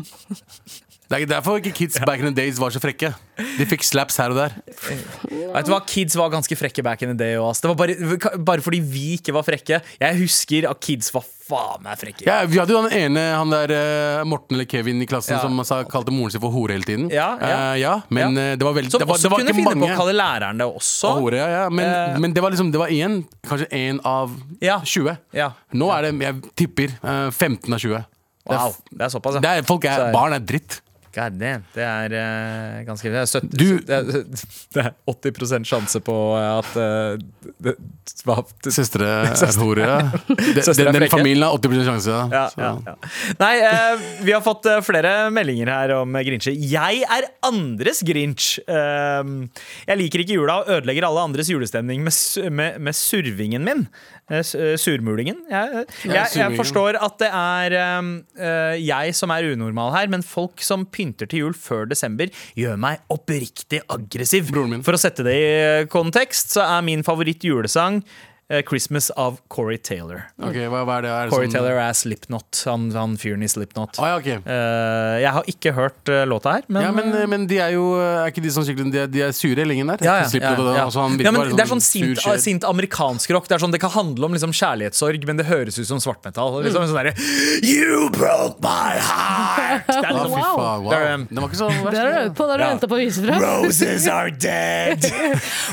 C: Det er derfor ikke kids back in the days var så frekke. De fikk slaps her og der.
B: Vet du hva, Kids var ganske frekke back in the day. også, ass. Det var bare, bare fordi vi ikke var frekke. Jeg husker at kids var faen meg frekke.
C: Ja, vi hadde jo han ene, han der eh, Morten eller Kevin i klassen
B: Ja.
C: som sa, kalte moren sin for hore hele tiden.
B: Ja, ja.
C: Eh, ja men
B: Ja.
C: eh, det var veldig
B: Som
C: det var,
B: også
C: det var
B: kunne
C: ikke
B: finne på
C: mange
B: å kalle læreren det også.
C: av hore, ja, ja. Men,
B: Eh.
C: men det var liksom, det var én, kanskje én av
B: Ja.
C: 20.
B: Ja.
C: Nå er det, jeg tipper, eh, 15 av 20. Det er,
B: Wow, det er såpass,
C: det er, folk er,
B: Så er-
C: barn er dritt.
B: God damn, det er eh, ganske det er, 70,
C: Du-
B: det er, det er 80 sjanse på at eh, det, hva, det,
C: Søstre er hore. ja. Det-
B: Søstre er
C: Den, den
B: frekke.
C: familien har 80 sjanse. da.
B: ja,
C: Så-
B: ja, ja. Nei, eh, vi har fått eh, flere meldinger her om grincher. Jeg er andres grinch. Eh, jeg liker ikke jula og ødelegger alle andres julestemning med, su- med, med survingen min. Eh, s- eh, surmulingen. Jeg, jeg, jeg
C: surmulingen.
B: forstår at det er eh, eh, jeg som er unormal her, men folk som pynter til jul før desember, gjør meg oppriktig aggressiv.
C: Broren min.
B: eh, For å sette det i kontekst, så er min favoritt julesang eh, 'Christmas' av Corey Taylor.
C: Ok, hva, hva er det? Er det
B: Corey
C: sånn-
B: Taylor er Slipknot. Han, han fyren i Slipknot.
C: Ah, ja, ok.
B: Eh, jeg har ikke hørt eh, låta her, men
C: ja, men, men de er jo Er ikke de sånn skikkelig De er, de er sure i lengden der?
B: Ja, ja,
C: De slipper
B: ja,
C: det,
B: ja.
C: altså, han virker
B: Ja, men
C: bare
B: det er sånn
C: sur
B: sint,
C: sjel.
B: sint amerikansk rock. Det, er sånn, det kan handle om liksom kjærlighetssorg, men det høres ut som svartmetall. Liksom,
C: Mm.
B: sånn derre, You broke my heart! Det er
C: Ah,
B: liksom,
C: fy
A: Wow.
C: faen, wow.
B: Det er, um,
C: Den var ikke så
A: Det har du øvd på, det har du
B: Ja.
A: venta på å vise fra.
B: Roses are dead!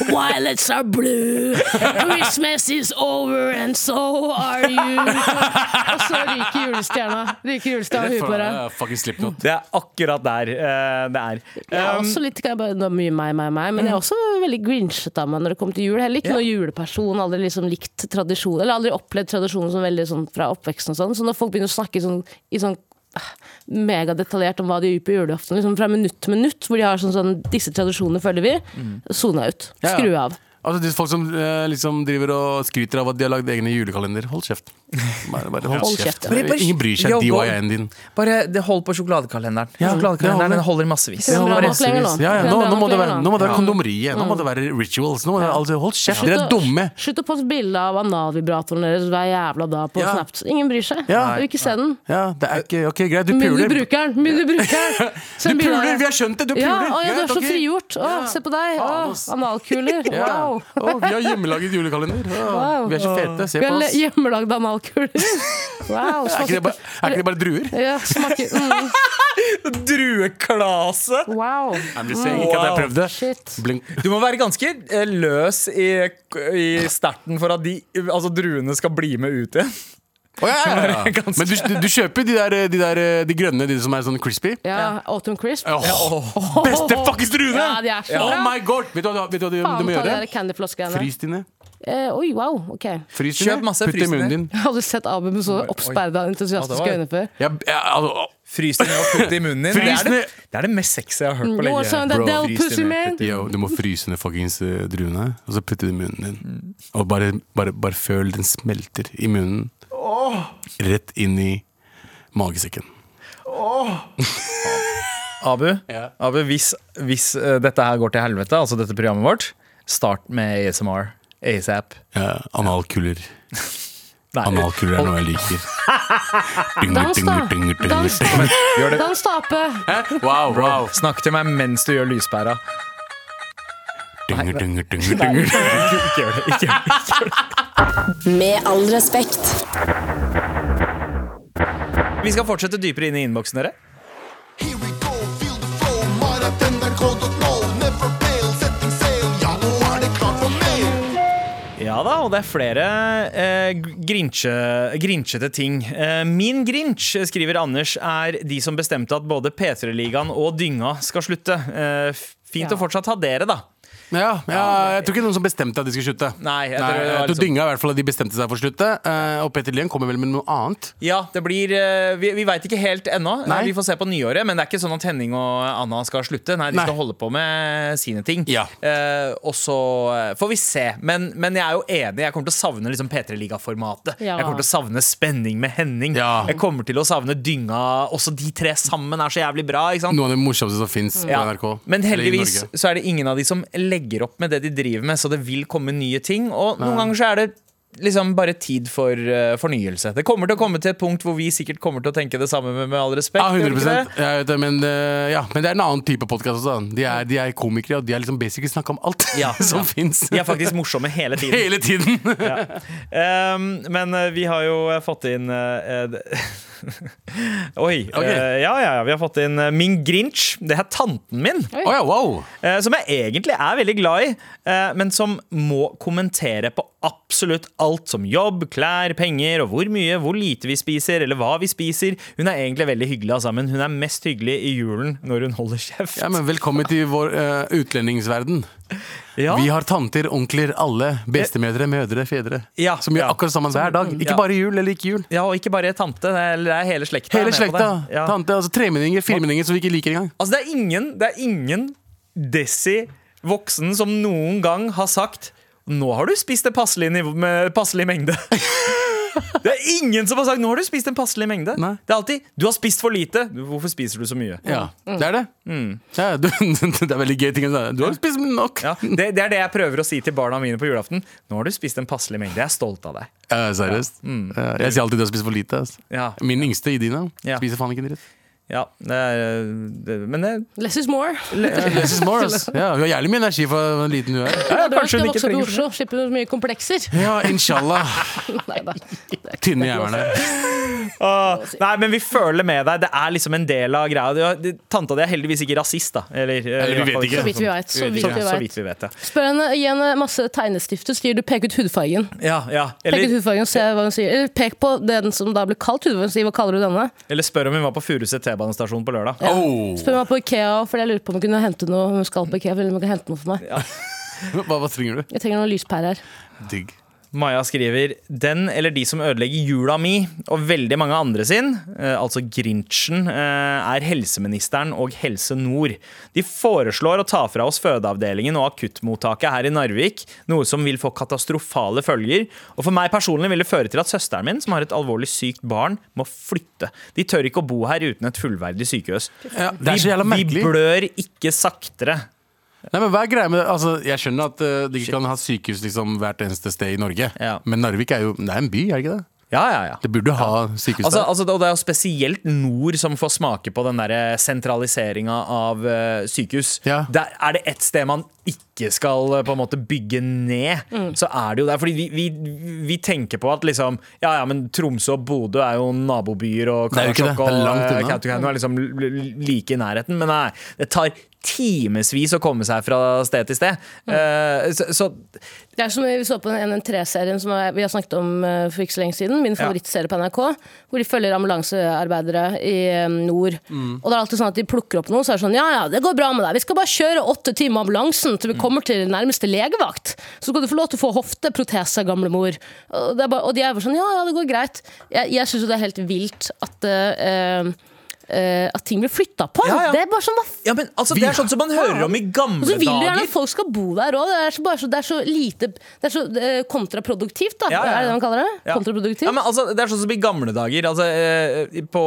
A: Violets are blue, Christmas is over and so are you. Og så ryker julestjerna. Ryker julestjerna i huet på deg.
C: Ja, Fucking Slipknot.
B: Det er akkurat der eh, det er.
A: Jeg er
B: Um,
A: også litt, kan jeg bare, det er mye meg, meg, meg, men jeg er også veldig grinchet av meg når det kommer til jul. Heller ikke
B: Ja.
A: noen sånn juleperson, aldri liksom likt tradisjon, eller aldri opplevd tradisjonen som veldig sånn fra oppveksten og sånn. Så når folk begynner å snakke sånn, i sånn eh, megadetaljert om hva de gjør på julaften, liksom fra minutt til minutt, hvor de har sånn sånn 'disse tradisjonene følger vi', sona ut.
C: Mm. Ja, ja.
A: Skru av.
C: Altså, det er folk som eh, liksom driver og skryter av at de har lagd egne julekalender. Hold kjeft. Bare, bare, hold
A: Hold
C: kjeft.
A: kjeft, ja.
B: Bare- bare-
C: Ingen bryr seg.
B: Yo, go.
C: DIY-en din.
B: Bare det hold på sjokoladekalenderen.
C: Ja, det holder.
B: sjokoladekalenderen den holder massevis.
A: Det holder massevis. lenger nå.
C: Ja, ja,
A: Det er
C: nå,
A: bra
C: nå, må
A: nok
C: det
A: lenger
C: være,
A: nå.
C: nå må det være kondomeriet. Nå må det være rituals. Nå må det, altså, hold kjeft, dere er
A: Slutt å-
C: dumme!
A: Slutt å poste bilde av analvibratoren deres hver jævla dag på
C: Ja.
A: Snap. Ingen bryr seg.
C: Ja.
A: Du vil ikke se den.
C: Ja, det er ikke Ok, greit, du
A: Men du
C: puler. Du
A: bruker den! Men du bruker den! Send bilde av
C: puler,
A: det.
C: vi har skjønt det! Du puler!
A: Ja, å, ja, du
C: Greit,
A: er så
C: ok.
A: frigjort. Å,
C: Ja.
A: se på deg.
C: Faen,
A: Å,
C: ass.
A: analkuler. Wow.
C: Ja. Å, vi har hjemmelaget julekalender. Å,
A: Wow.
C: Vi er så fete. Se
A: Vi
C: på
A: har le-
C: oss.
A: hjemmelagde analkuler. Wow.
C: Er ikke det bare, er ikke det bare druer?
A: Ja, smaker mm,
B: Drueklase!
A: Wow.
C: I'm just saying, ikke at jeg
B: Wow.
C: prøvde.
A: Shit.
C: Blink.
B: Du må være ganske eh, løs i, i starten for at de, altså, druene skal bli med ut igjen.
C: Å, ja, ja, ja.
B: Ganske-
C: Men du, du, du kjøper de, der, de der De grønne, de som er sånn crispy?
A: Ja, Autumn Crisp.
C: Åh, Beste fuckings druene!
A: Ja, de er så
C: oh
A: bra.
C: my god! Vet du, hva- vet du hva du,
A: Faen
C: du må
A: ta de
C: gjøre?
A: der candyfloss-greiene.
C: Frys dine.
A: Eh, oi, wow. Ok. Jeg
C: Frys
B: Kjøp
C: dine.
B: masse
C: Putt dem i
B: frysende.
C: munnen din.
A: har aldri sett Abu med så oppsperra
B: Ja,
A: entusiastiske
B: det var-
A: øyne før.
C: Jeg, jeg, altså,
B: Frys den ned og putt det i munnen din. Det
C: Frys
B: er det,
C: ned.
B: det er det mest sexy jeg har hørt på
A: You want some of that
C: bro,
A: Del
B: frys
A: pussy
B: dine,
A: man?
C: Yo, du må fryse ned fuckings eh, druene, og så putte det i munnen din. Og bare, bare, bare føl den smelter i munnen. Rett inn i magesekken.
B: Abu, Abu hvis, hvis eh, dette her går til helvete, altså dette programmet vårt, start med ASMR. ASAP.
C: Ja, analkuler.
B: Nei,
C: Analkuler er noe jeg liker.
A: Dans, da. Dans, da.
B: gjør det.
A: Dans, da, Ape.
C: Wow, wow.
B: Snakk til meg mens du gjør lyspæra.
C: Dynger, dynger, dynger, dynger.
B: Ikke gjør det. Ikke gjør det.
D: Med all respekt.
B: Vi skal fortsette dypere inn i innboksen, dere.
E: Here we go, feel the flow. Marathon er gått og nå. Never fail, setting sail. Ja, nå er det klart for mer.
B: Ja da, og det er flere eh, grinche, grinchete ting. Eh, min grinch, skriver Anders, er de som bestemte at både P3-ligaen og Dynga skal slutte. Eh, f- fint
A: Ja.
B: å fortsatt ha dere, da.
C: Ja, ja, jeg tror ikke noen som bestemte at de skulle slutte.
B: Nei, jeg
C: jeg
B: tror
C: tror,
B: det var liksom-
C: Dynga i hvert fall at de bestemte seg for å slutte. eh, Og Petter Lien kommer vel med noe annet.
B: Ja, det blir eh, Vi, vi veit ikke helt ennå. Eh,
C: Nei.
B: Vi får se på nyåret. Men det er ikke sånn at Henning og Anna skal slutte. Nei, de
C: Nei.
B: skal holde på med sine ting.
C: Ja.
B: Eh, og så eh, får vi se. Men, men jeg er jo enig. Jeg kommer til å savne liksom P3-ligaformatet.
A: Ja.
B: Jeg kommer til å savne spenning med Henning.
C: Ja.
B: Jeg kommer til å savne dynga. Også de tre sammen er så jævlig bra. Ikke sant?
C: Noe av det morsomste som fins
B: Mm. Ja.
C: på NRK.
B: Men
C: eller i
B: heldigvis
C: Norge.
B: så er det ingen av de som legger opp med det de driver med, så det vil komme nye ting. Og noen ganger så er det liksom bare tid for eh, fornyelse. Det kommer til å komme til et punkt hvor vi sikkert kommer til å tenke det samme med, med all respekt.
C: Ja,
B: gjør det
C: 100
B: ikke
C: jeg
B: det?
C: vet det, men, eh, ja, men det er en annen type podkast også. da. De er, de er komikere, og de har liksom basically snakka om alt
B: Ja.
C: som
B: Ja.
C: fins.
B: De er faktisk morsomme hele tiden.
C: Hele tiden!
B: Ehm, men eh, vi har jo eh, fått inn eh, eh, d- Oi.
C: Ok.
B: eh, ja, ja, ja. Vi har fått inn eh, min Grinch. Det er tanten min.
C: Å ja, wow!
B: Eh, Som jeg egentlig er veldig glad i, eh, men som må kommentere på absolutt alt som jobb, klær, penger og hvor mye, hvor lite vi spiser eller hva vi spiser. Hun er egentlig veldig hyggelig altså, men hun er mest hyggelig i julen når hun holder kjeft.
C: Ja, men Velkommen til vår eh, utlendingsverden.
B: Ja.
C: Vi har tanter, onkler, alle. Bestemødre, mødre, fedre.
B: Ja.
C: Som gjør
B: Ja.
C: akkurat sammen hver dag. Ikke
B: Ja.
C: bare jul eller ikke jul.
B: Ja, og ikke bare tante, det er, det er hele slekta. er
C: Hele
B: med på
C: slekta.
B: det. Ja.
C: Tante, altså Tremenninger, firmenninger som vi ikke liker engang.
B: Altså, det er ingen, det er ingen desi voksen som noen gang har sagt nå har du spist det passelig, nivå, med passelig mengde. Det er ingen som har sagt 'nå har du spist en passelig mengde'.
C: Nei.
B: Det er alltid 'du har spist for lite'. Du, Hvorfor spiser du så mye?
C: Ja, det er det. Ja, du, det er veldig gøy ting å si. Du har spist nok.
B: Mm. Ja, det, det er det jeg prøver å si til barna mine på julaften. 'Nå har du spist en passelig mengde'. Jeg er stolt av deg.
C: Ja, Eh, seriøst.
B: Mm.
C: Ja, Jeg sier alltid du har spist for lite. altså. ass.
B: Ja.
C: Min yngste, Idina,
B: Ja.
C: spiser faen ikke dritt.
B: Ja, det er, det, men det,
A: Less is more.
C: Less is more, ass. Ja, hun har jævlig mye energi for hvor liten hun er.
B: ja,
A: Hadde vært
B: kanskje
A: å
B: hun ikke
A: vokse opp i
B: trenger
A: Oslo, slippe så mye komplekser.
C: Ja, inshallah.
A: Nei da.
C: Tynne jævlene.
B: Åh, nei, men vi føler med deg. Det er liksom en del av greia. Du- det- Tanta di er heldigvis ikke rasist, da. Eller, eh,
C: Eller vi
B: i hvert
C: vet
B: fall
C: ikke.
A: Så vidt vi vet. Så vidt vi
B: Så, så vidt
A: vet.
B: vi vet, ja.
A: Spør henne igjen masse tegnestifter. Skriver du 'pek ut hudfargen'?
B: Ja, ja.
A: Pek ut
B: Eller,
A: hudfargen, se hva hun sier. Eller pek på den som da ble kalt hudfargen. Si hva kaller du denne?
B: eller spør om hun var på Furuset T-banestasjon på lørdag.
C: Oh.
A: Spør meg på Ikea, for jeg lurer på om hun kunne hente noe. Hun skal på Ikea, for hun kan hente noe for meg.
C: Hva, hva trenger du?
A: Jeg trenger noen lyspærer.
C: Digg.
B: Maja skriver Den eller de som ødelegger jula mi og veldig mange andre sin, eh, altså Grinchen, eh, er helseministeren og Helse Nord. De foreslår å ta fra oss fødeavdelingen og akuttmottaket her i Narvik, noe som vil få katastrofale følger. Og for meg personlig vil det føre til at søsteren min, som har et alvorlig sykt barn, må flytte. De tør ikke å bo her uten et fullverdig sykehus.
C: Ja, det er så jævla
B: Vi, vi
C: merkelig.
B: blør ikke saktere.
C: Nei, men hva er greia med det? Altså, jeg skjønner at eh, de ikke kan ha sykehus liksom, hvert eneste sted i Norge.
B: Ja.
C: Men Narvik er jo det er en by, er det ikke det?
B: Ja, ja, ja.
C: Det burde ha sykehus
B: Altså,
C: der.
B: altså, og det er jo spesielt Nord som får smake på den der sentraliseringa av eh, sykehus.
C: Ja.
B: Der er det ett sted man ikke skal eh, på en måte bygge ned,
A: Mm.
B: så er det jo der. Fordi vi, vi, vi tenker på at liksom Ja ja, men Tromsø og Bodø er jo nabobyer, og
C: Det er jo ikke det.
B: Karasjok og
C: Det er langt
B: eh,
C: unna.
B: Kautokeino er liksom l- l- like i nærheten. Men nei, det tar timevis å komme seg fra sted til sted.
A: Mm.
B: Eh, så, så
A: Det er som vi så på den NN3-serien som er- vi har snakket om eh, for ikke så lenge siden. Min favorittserie på NRK. Hvor de følger ambulansearbeidere i eh, nord.
B: Mm.
A: Og det er alltid sånn at de plukker opp noen, så er det sånn Ja ja, det går bra med deg. Vi skal bare kjøre åtte timer med ambulansen
B: Mm.
A: til vi kommer til nærmeste legevakt. Så skal du få lov til å få hofteprotese, gamlemor. Og, det er bare- og de er bare sånn Ja ja, det går greit. Jeg, jeg syns jo det er helt vilt at eh, eh, at ting blir flytta på.
B: Ja, ja.
A: Det er bare sånn, hva
B: ja, men, altså, Det er sånn som man hører om i gamle
A: og så vil du gjerne
B: dager.
A: at folk skal bo der òg. Det, er så- bare så- det er så lite Det er så eh, kontraproduktivt, da.
B: Ja, ja, ja.
A: Er det det man kaller det?
B: Ja.
A: Kontraproduktivt.
B: Ja, men altså, det er sånn som i gamle dager. Altså, eh, på,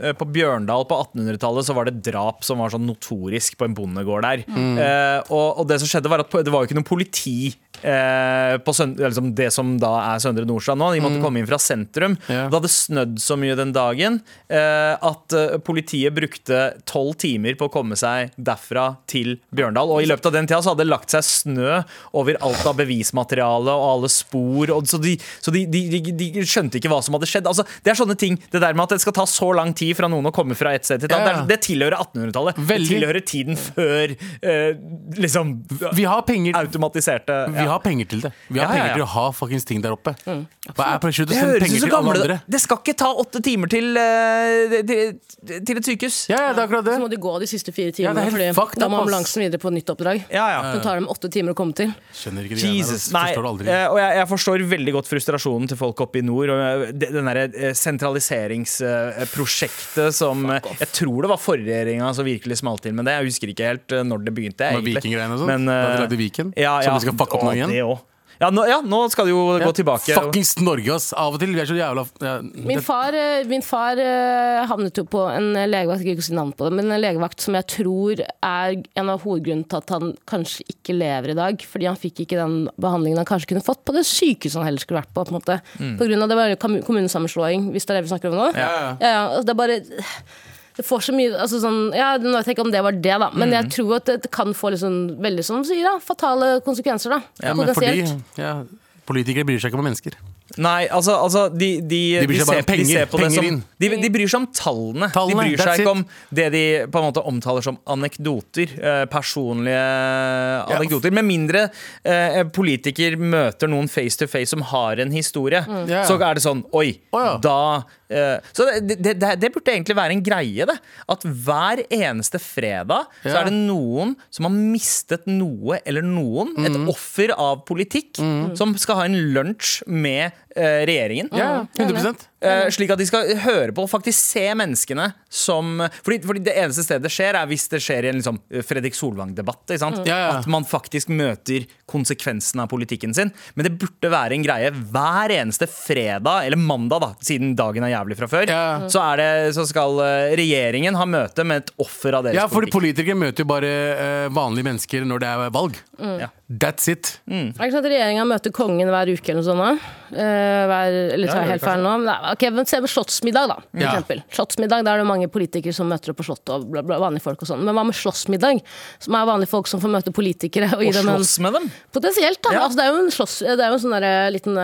B: eh, på Bjørndal på 1800-tallet så var det drap som var sånn notorisk på en bondegård der. Eh, og, og det som skjedde var at po- det var jo ikke noe politi eh, på søn eller liksom det som da er Søndre Nordstrand nå. De måtte komme inn fra sentrum.
C: Ja.
B: Det hadde snødd så mye den dagen eh, at eh, politiet brukte tolv timer på å komme seg derfra til Bjørndal. Og i løpet av den tida så hadde det lagt seg snø over alt av bevismateriale og alle spor. Og så de, så de, de, de, de skjønte ikke hva som hadde skjedd. Altså, det er sånne ting, det der med at det skal ta så lang tid fra noen å komme fra et sted til et annet,
C: Ja, ja.
B: det, er- det tilhører 1800-tallet. Det
C: Veldig.
B: tilhører tiden før eh, liksom
C: Vi har penger
B: automatiserte
C: Vi har penger til det. Vi har
B: Ja, ja, ja. Mm.
C: penger til å ha fuckings ting der oppe. Hva er på slutt å
B: Det
C: sende
B: høres ut
C: penger
B: som
C: til alle andre?
B: gamle Det skal ikke ta åtte timer til, eh, til, til et sykehus.
C: Ja, ja, det er akkurat det.
A: så må de gå de siste fire
C: Ja, det
A: timene,
C: er helt
A: Fordi
C: fucked
A: da
C: up,
A: må
C: ass.
A: ambulansen videre på nytt oppdrag.
B: Ja, ja.
A: Så tar dem åtte timer å komme til.
C: Skjønner ikke de greiene der,
B: Jesus,
C: altså.
B: nei,
C: Forstår det aldri.
B: eh, og jeg, jeg forstår veldig godt frustrasjonen til folk oppe i nord. Og eh, det- den derre eh, sentraliseringsprosjektet som eh, Jeg tror det var forrige regjeringa som virkelig smalt til med det. Jeg husker ikke helt eh, når det begynte.
C: Med
B: egentlig.
C: vikinggreiene og sånt?
B: Men,
C: Da
B: eh,
C: de lagde Viken?
B: Ja, ja,
C: Som de skal fucke opp nå
B: Å,
C: igjen?
B: det også. Ja, nå, ja, nå skal det jo gå tilbake.
C: Fuckings Norge, ass! Av og til vi er så jævla ja,
A: Min
C: det,
A: far, eh, min far eh, havnet jo på en eh, legevakt, jeg kan ikke si navn på det, men en legevakt som jeg tror er en av hovedgrunnene til at han kanskje ikke lever i dag. Fordi han fikk ikke den behandlingen han kanskje kunne fått på det sykehuset han heller skulle vært på. på en måte. På grunn av det var jo kommu- kommunesammenslåing, hvis det er det vi snakker om nå.
C: Mm. Ja, ja.
A: Ja, ja, altså det er bare det får så mye altså sånn, ja, Nå vet jeg ikke om det var det, da, men
C: Mm.
A: jeg tror at det kan få litt sånn, veldig som du sier, da, fatale konsekvenser. da.
C: ja, men fordi
A: Potensielt.
C: ja, Politikere bryr seg ikke om mennesker.
B: Nei, altså, altså de, de,
C: De bryr seg bare om
B: de
C: penger.
B: ser på det
C: Penger
B: som,
C: inn.
B: De, de bryr seg om tallene.
C: Tallene,
B: de bryr seg
C: that's
B: ikke om det de på en måte omtaler som anekdoter. eh, personlige anekdoter. Med mindre eh, politiker møter noen face to face som har en historie,
C: Ja.
B: så er det sånn Oi,
C: Å ja.
B: da eh, Så det, det, det, det burde egentlig være en greie, det. At hver eneste fredag så
C: Ja.
B: er det noen som har mistet noe eller noen, et
C: Mm.
B: offer av politikk, som skal ha en lunsj med eh, regjeringen.
C: Ja, 100
B: Eh, slik at de skal høre på og faktisk se menneskene som fordi, fordi det eneste stedet det skjer, er hvis det skjer i en liksom, Fredrik Solvang-debatt. ikke sant?
C: Mm. Ja, ja.
B: At man faktisk møter konsekvensen av politikken sin. Men det burde være en greie hver eneste fredag, eller mandag, da, siden dagen er jævlig fra før.
C: Ja.
B: Så, er det, så skal eh, regjeringen ha møte med et offer av deres
C: Ja, fordi
B: politikk.
C: politikere møter jo bare eh, vanlige mennesker når det er valg.
A: Mm.
B: Ja.
C: That's it.
A: Er det ikke sånn at regjeringa møter kongen hver uke eller noe sånt? da? Eh, hver, eller tar
B: Ja,
A: jeg helt feil nå? Men Nei, ok, men Se på Slottsmiddag, da. For
C: Ja.
A: eksempel. Slottsmiddag, der er det mange politikere som møter opp på Slottet og bla, bla, vanlige folk og sånn. Men hva med Slåssmiddag, som er vanlige folk som får møte politikere? Og, gi
B: Og
A: dem en,
B: slåss med dem.
A: Potensielt, da.
B: Ja.
A: Altså, det er jo en, slåss, det er jo en sånn der, eh, liten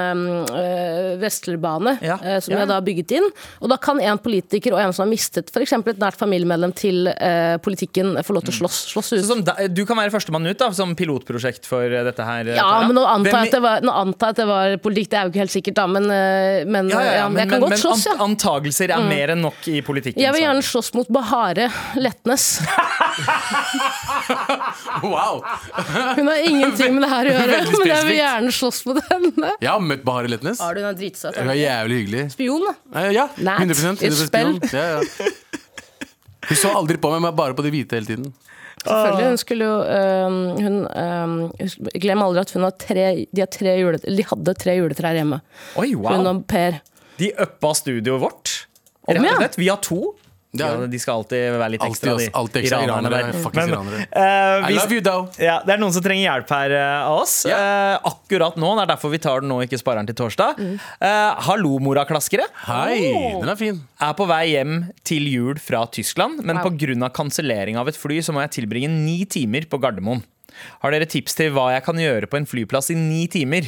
A: øh, vestlerbane
B: Ja.
A: eh, som
B: Ja.
A: jeg da har bygget inn. Og da kan en politiker og en som har mistet f.eks. et nært familiemedlem til eh, politikken, få lov til å slåss, slåss ut.
B: Mm. Så som de, sånn, du kan være førstemann ut da, som pilotprosjekt for eh, dette her. eh,
A: ja,
B: Tara.
A: men nå antar,
B: Hvem i-
A: jeg at det var, nå antar jeg at det var politikk, det er jo ikke helt sikkert, da. Men, eh, men,
B: ja, ja, ja,
A: ja,
B: men,
A: jeg kan godt
B: men, men
A: slåss,
B: ant-
A: ja. Mm.
B: antagelser er mer enn nok i politikken.
A: Jeg vil
B: så.
A: gjerne slåss mot Bahare Letnes.
C: Wow!
A: Hun har ingenting med det her å gjøre,
C: Veldig
A: men jeg vil
C: spesifikt.
A: gjerne slåss mot henne.
C: Jeg har møtt Bahare Letnes.
A: Har du den dritsøte?
C: Hun er jævlig hyggelig.
A: Spion, da.
C: Eh, Ja,
A: Nei,
C: 100, 100
A: utspill.
C: Ja, ja. Hun så aldri på meg, men bare på de hvite hele tiden.
A: Selvfølgelig. Hun skulle jo øhm, hun, øhm, husk- Glem aldri at hun har tre, de, har tre jule, de hadde tre juletrær hjemme.
B: Oi,
A: Hun
B: wow.
A: og Per.
B: De uppa studioet vårt.
A: Om
B: Rett og
A: ja.
B: slett. Vi har to. Ja,
C: Ja.
B: de skal alltid være litt
C: Alltid,
B: ekstra,
C: ass.
B: de
C: Alltid ekstra iranere. Fuckings iranere.
B: eh,
C: I
B: vi-
C: love you, though.
B: Ja, det er noen som trenger hjelp her eh, av oss.
C: Ja.
B: Eh, akkurat nå. Det er derfor vi tar den nå, ikke sparer den til torsdag.
A: Mm.
B: Eh, hallo, moraklaskere.
C: Hei,
A: Oh.
C: den er fin.
B: er på vei hjem til jul fra Tyskland, men
A: Wow.
B: pga. kansellering av et fly så må jeg tilbringe ni timer på Gardermoen. Har dere tips til hva jeg kan gjøre på en flyplass i ni timer?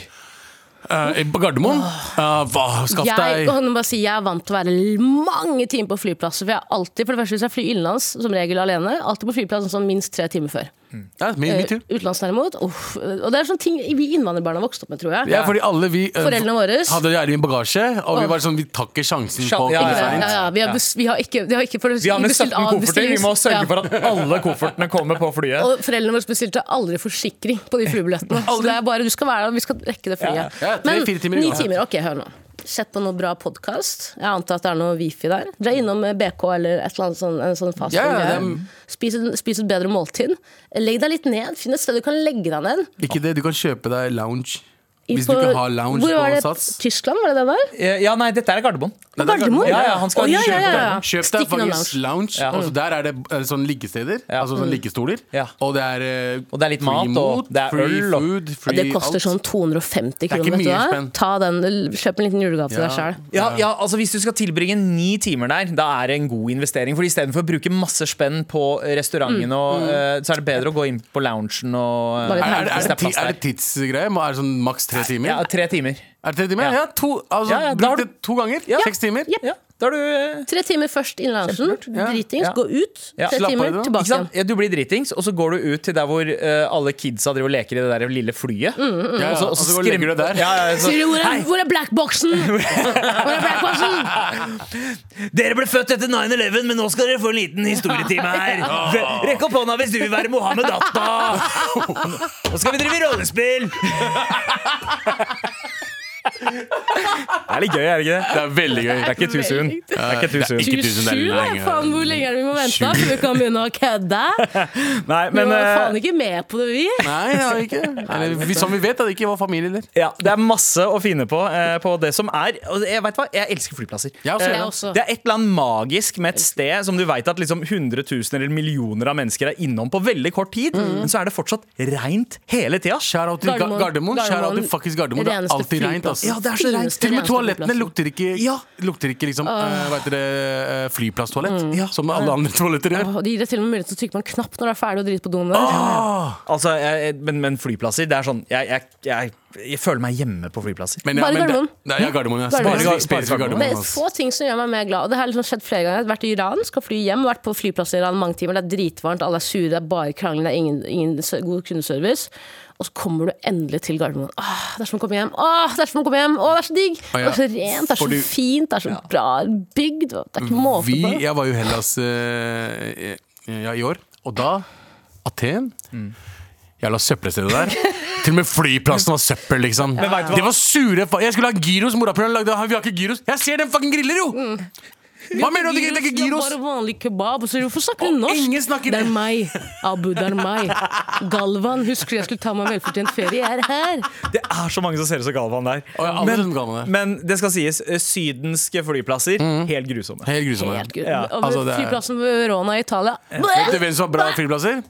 C: Eh, på Gardermoen? Eh, hva? Skaff
A: Ah. Jeg,
C: deg
A: og hun bare sier, jeg er vant til å være l- mange timer på flyplasser. For jeg er alltid, for det første hvis jeg flyr innenlands, som regel alene, alltid på flyplassen sånn minst tre timer før.
C: ja, me, me too.
A: Eh, Utenlands derimot, uff. Og det er sånne ting vi innvandrerbarn har vokst opp med, tror jeg.
C: Ja, fordi alle vi eh,
A: Foreldrene våre.
C: hadde jævlig mye bagasje, og vi var sånn, vi tar ikke sjansen
B: Sjan-
C: på
B: ja,
A: Ikke
B: ja,
A: sant?
B: ja.
A: Ja, ja, vi, har
B: Ja.
A: bes, vi har ikke, vi har ikke for,
B: Vi har med 17
A: bestilt av-
B: kofferter. Vi må
A: bestillings-
B: sørge
A: ja.
B: for at alle koffertene kommer på flyet.
A: Og foreldrene våre bestilte aldri forsikring på de flybillettene. Så det er bare, du skal være der, og vi skal rekke det flyet.
C: Ja, tre,
A: Men
C: fire timer i
A: ni
C: gang.
A: timer, ok, hør nå. Sett på noe bra podkast. Jeg antar at det er noe wifi der. Dra innom eh, BK eller et eller annet sånn, en sånn fast
C: Ja, ja,
A: greie.
C: det
A: Spis, en- spis et bedre måltid. Legg deg litt ned. Finn et sted du kan legge deg ned.
C: Ikke det, du kan kjøpe deg lounge.
A: I
C: Hvis du
A: på-
C: ikke har lounge
A: Hvor var
C: på
A: det?
C: Sats.
A: Tyskland, var det det der?
B: Eh, Ja, nei, dette er Gardermoen.
C: Nei, det er
A: Gardermoen?
B: Ja, ja, han skal
A: Å, ja, ja, ja, ja.
C: Kjøp deg
A: Stikk innom
C: faktisk
A: lounge.
C: lounge, og så der er det eh, sånne liggesteder.
B: Ja.
C: Altså sånne liggestoler.
B: Ja.
C: Og det er eh,
B: Og det er litt mat, og det er
C: free
B: øl, og-
C: food,
A: Ja,
C: free
A: det koster
C: alt.
A: sånn 250
C: er ikke
A: kroner. vet du
C: mye
A: hva?
C: spenn.
A: Ta den, kjøp en liten julegave til
C: Ja.
A: deg sjæl.
B: Ja, ja, altså Hvis du skal tilbringe ni timer der, da er det en god investering. For istedenfor å bruke masse spenn på restauranten, og, eh, så er det bedre å gå inn på loungen
A: Mm.
B: og eh,
A: Bare-
C: Er, er,
B: hvis det er
C: det- er, det, ti-
B: plass
C: er
B: der.
C: det tidsgreie? Må- Er det sånn maks tre timer?
B: Ja, tre timer.
C: Er det tre timer?
B: Ja.
C: Ja, to, altså,
B: Ja, ja, da har
C: Bruk
B: du-
C: det to ganger. Seks timer.
A: Jepp.
B: Ja, da er du eh,
A: Tre timer først innlandsen, dritings,
B: Ja.
A: gå ut.
B: Ja.
A: Tre
C: Slapp av i
A: timer
C: det, da.
A: tilbake
B: Ikke
A: igjen.
B: sant? Ja, du blir dritings, og så går du ut til der hvor eh, alle kidsa driver og leker i det der lille
A: Mm,
B: flyet.
C: Ja, ja. Og
B: altså,
C: så går og legger du deg der.
B: Ja, ja, så,
A: Sier du, hvor
B: Hei,
A: er, hvor er blackboxen? Hvor er blackboxen?
B: dere ble født etter 9-11, men nå skal dere få en liten historietime her. Ve- Rekk opp hånda hvis du vil være Mohammed Atta. Nå skal vi drive rollespill. Det er litt gøy, er det ikke det?
C: Det er veldig gøy.
B: Det er ikke too soon. Det er ikke too soon.
C: Ikke tusen, det er
A: 27,
C: lenge.
A: da, faen, hvor lenge er det vi må vente da før vi kan begynne å kødde?
B: Nei,
A: Vi
B: men,
A: var
B: eh,
A: faen ikke med på det, vi.
C: Nei, det er ikke. Eller, vi- som vi vet, er det ikke vår familie der.
B: Ja, Det er masse å finne på eh, på det som er og Jeg vet hva, jeg elsker flyplasser.
C: Jeg også.
B: Eh,
C: Jeg
A: også.
B: Det er et eller annet magisk med et sted som du vet at liksom hundretusener eller millioner av mennesker er innom på veldig kort tid, men så er det fortsatt reint hele tida.
C: Shout out til Ga-
A: Mm. Gardermoen.
C: Gardermoen. Shout out til
A: Gardermoen.
C: fucking Gardermoen. Det er
A: Reneste
C: alltid
A: flyplass.
C: rent. ass.
B: Ja, det er så rent.
A: Fineste,
C: Til og med
A: reneste
C: toalettene
A: flyplassen.
C: lukter ikke,
B: Ja.
C: lukter ikke liksom, eh, hva heter det, eh, flyplasstoalett,
A: Mm.
C: som alle andre toaletter gjør.
A: Og det gir deg til og med mulighet til å trykke på en knapp når du er ferdig og drite på doen. der.
B: Altså, jeg, jeg- men, men flyplasser, det er sånn jeg, jeg, jeg, jeg føler meg hjemme på flyplasser.
C: Men,
A: Bare
C: men det-
A: Gardermoen.
C: Nei, ja, Gardermoen. Ja. altså-
A: Gardermoen.
C: Spesifikt- spesifikt
B: Bare
A: Det
C: Gardermoen.
A: er
C: ass.
A: få ting som gjør meg mer glad. Og det har liksom skjedd flere ganger. Jeg har vært i Iran, skal fly hjem, vært på flyplasser i Iran mange timer. Det er dritvarmt, alle er sure, det er bare krangling, det er ingen, ingen s- god kundeservice. Og så kommer du endelig til Gardermoen. Åh, det er som å komme hjem! Åh, det er som å komme hjem! Åh, det er så digg!
C: Å, Ah, ja.
A: Det er så rent, det er så
C: Fordi-
A: fint, det er så bra bygd. Det er ikke måte
C: Vi,
A: på.
C: jeg var jo i Hellas eh,
B: Mm.
C: eh, ja, i år, og da Aten Jævla søppelstedet der. Til og med flyplassen var søppel, liksom.
B: Men vet du hva?
C: Det var sure fa Jeg skulle ha gyros, morapuleren lagde Vi har ikke gyros. Jeg ser den fucking griller, jo! Hva mener du at det ikke- det er ikke gyros?
A: Det er Mm. bare vanlig kebab. Så hvorfor snakker du
C: Og
A: norsk?
C: ingen snakker
A: det er
C: det.
A: meg, Abu. Det er meg. Galvan, husker du jeg skulle ta meg en velfortjent ferie? Jeg er her.
B: Det er så mange som ser ut som Galvan der.
C: Å, ja, alle ser ut som Galvan Mm. der.
B: men det skal sies, eh, sydenske flyplasser, helt grusomme.
C: Helt grusomme.
A: Helt gud.
B: Ja,
A: Over
C: altså, det er-
A: Flyplassen ved Verona i Italia.
C: Vet du hvem som har bra flyplasser?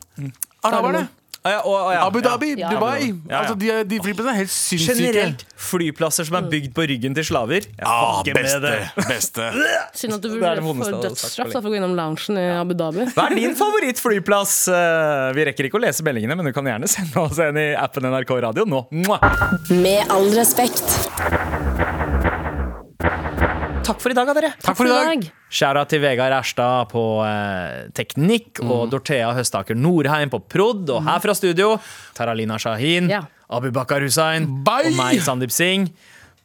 C: Araberne.
B: Ah, ja, og- og ja,
C: Abu
B: Mm. ja.
C: Dhabi,
A: Ja.
C: Dubai.
B: Ja, ja.
C: Altså, de, er- de flyplassene er helt sinnssyke.
B: Generelt flyplasser som
C: Mm.
B: er bygd på ryggen til slaver. Jeg
C: Ah,
B: fucker med
C: beste.
B: det.
C: beste.
A: Synd at du
B: Det er
A: vurderer
B: det vondeste jeg
A: for
B: hadde sagt
A: dødsstraff da,
B: for
A: for å gå innom loungen i Abu Dhabi.
B: Hva er din favorittflyplass? Eh, Vi rekker ikke å lese meldingene, men du kan gjerne sende oss en i appen NRK Radio nå. Mwah!
D: Med all respekt.
B: Takk for i dag, da, dere.
C: Takk for i dag.
B: Skjæra til Vegard Erstad på eh, teknikk,
C: Mm.
B: og Dorthea Høstaker Norheim på prod, og her fra studio Taralina Shahin,
A: Ja.
B: Abubakar Hussain
C: Bye!
B: og meg, Sandeep Singh.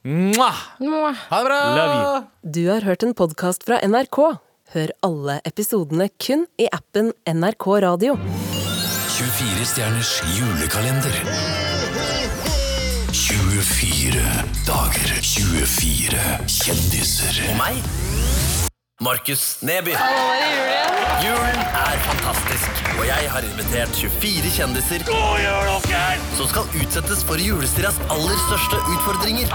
B: Mwah!
A: Mwah.
C: Ha det bra!
B: Love you.
F: Du har hørt en podkast fra NRK. Hør alle episodene kun i appen NRK Radio.
G: 24 stjerners julekalender. 24 dager. 24 kjendiser. Og meg. Markus Neby. Hallo, er det jul igjen? Julen er fantastisk, og jeg har invitert 24 kjendiser God jul, Oskar! som skal utsettes for julestiras aller største utfordringer.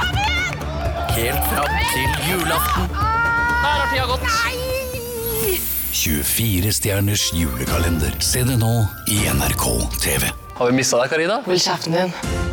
G: Helt fram til julaften. Der har tida gått. 24 stjerners julekalender. Se det nå i NRK TV.
H: Hold kjeften din.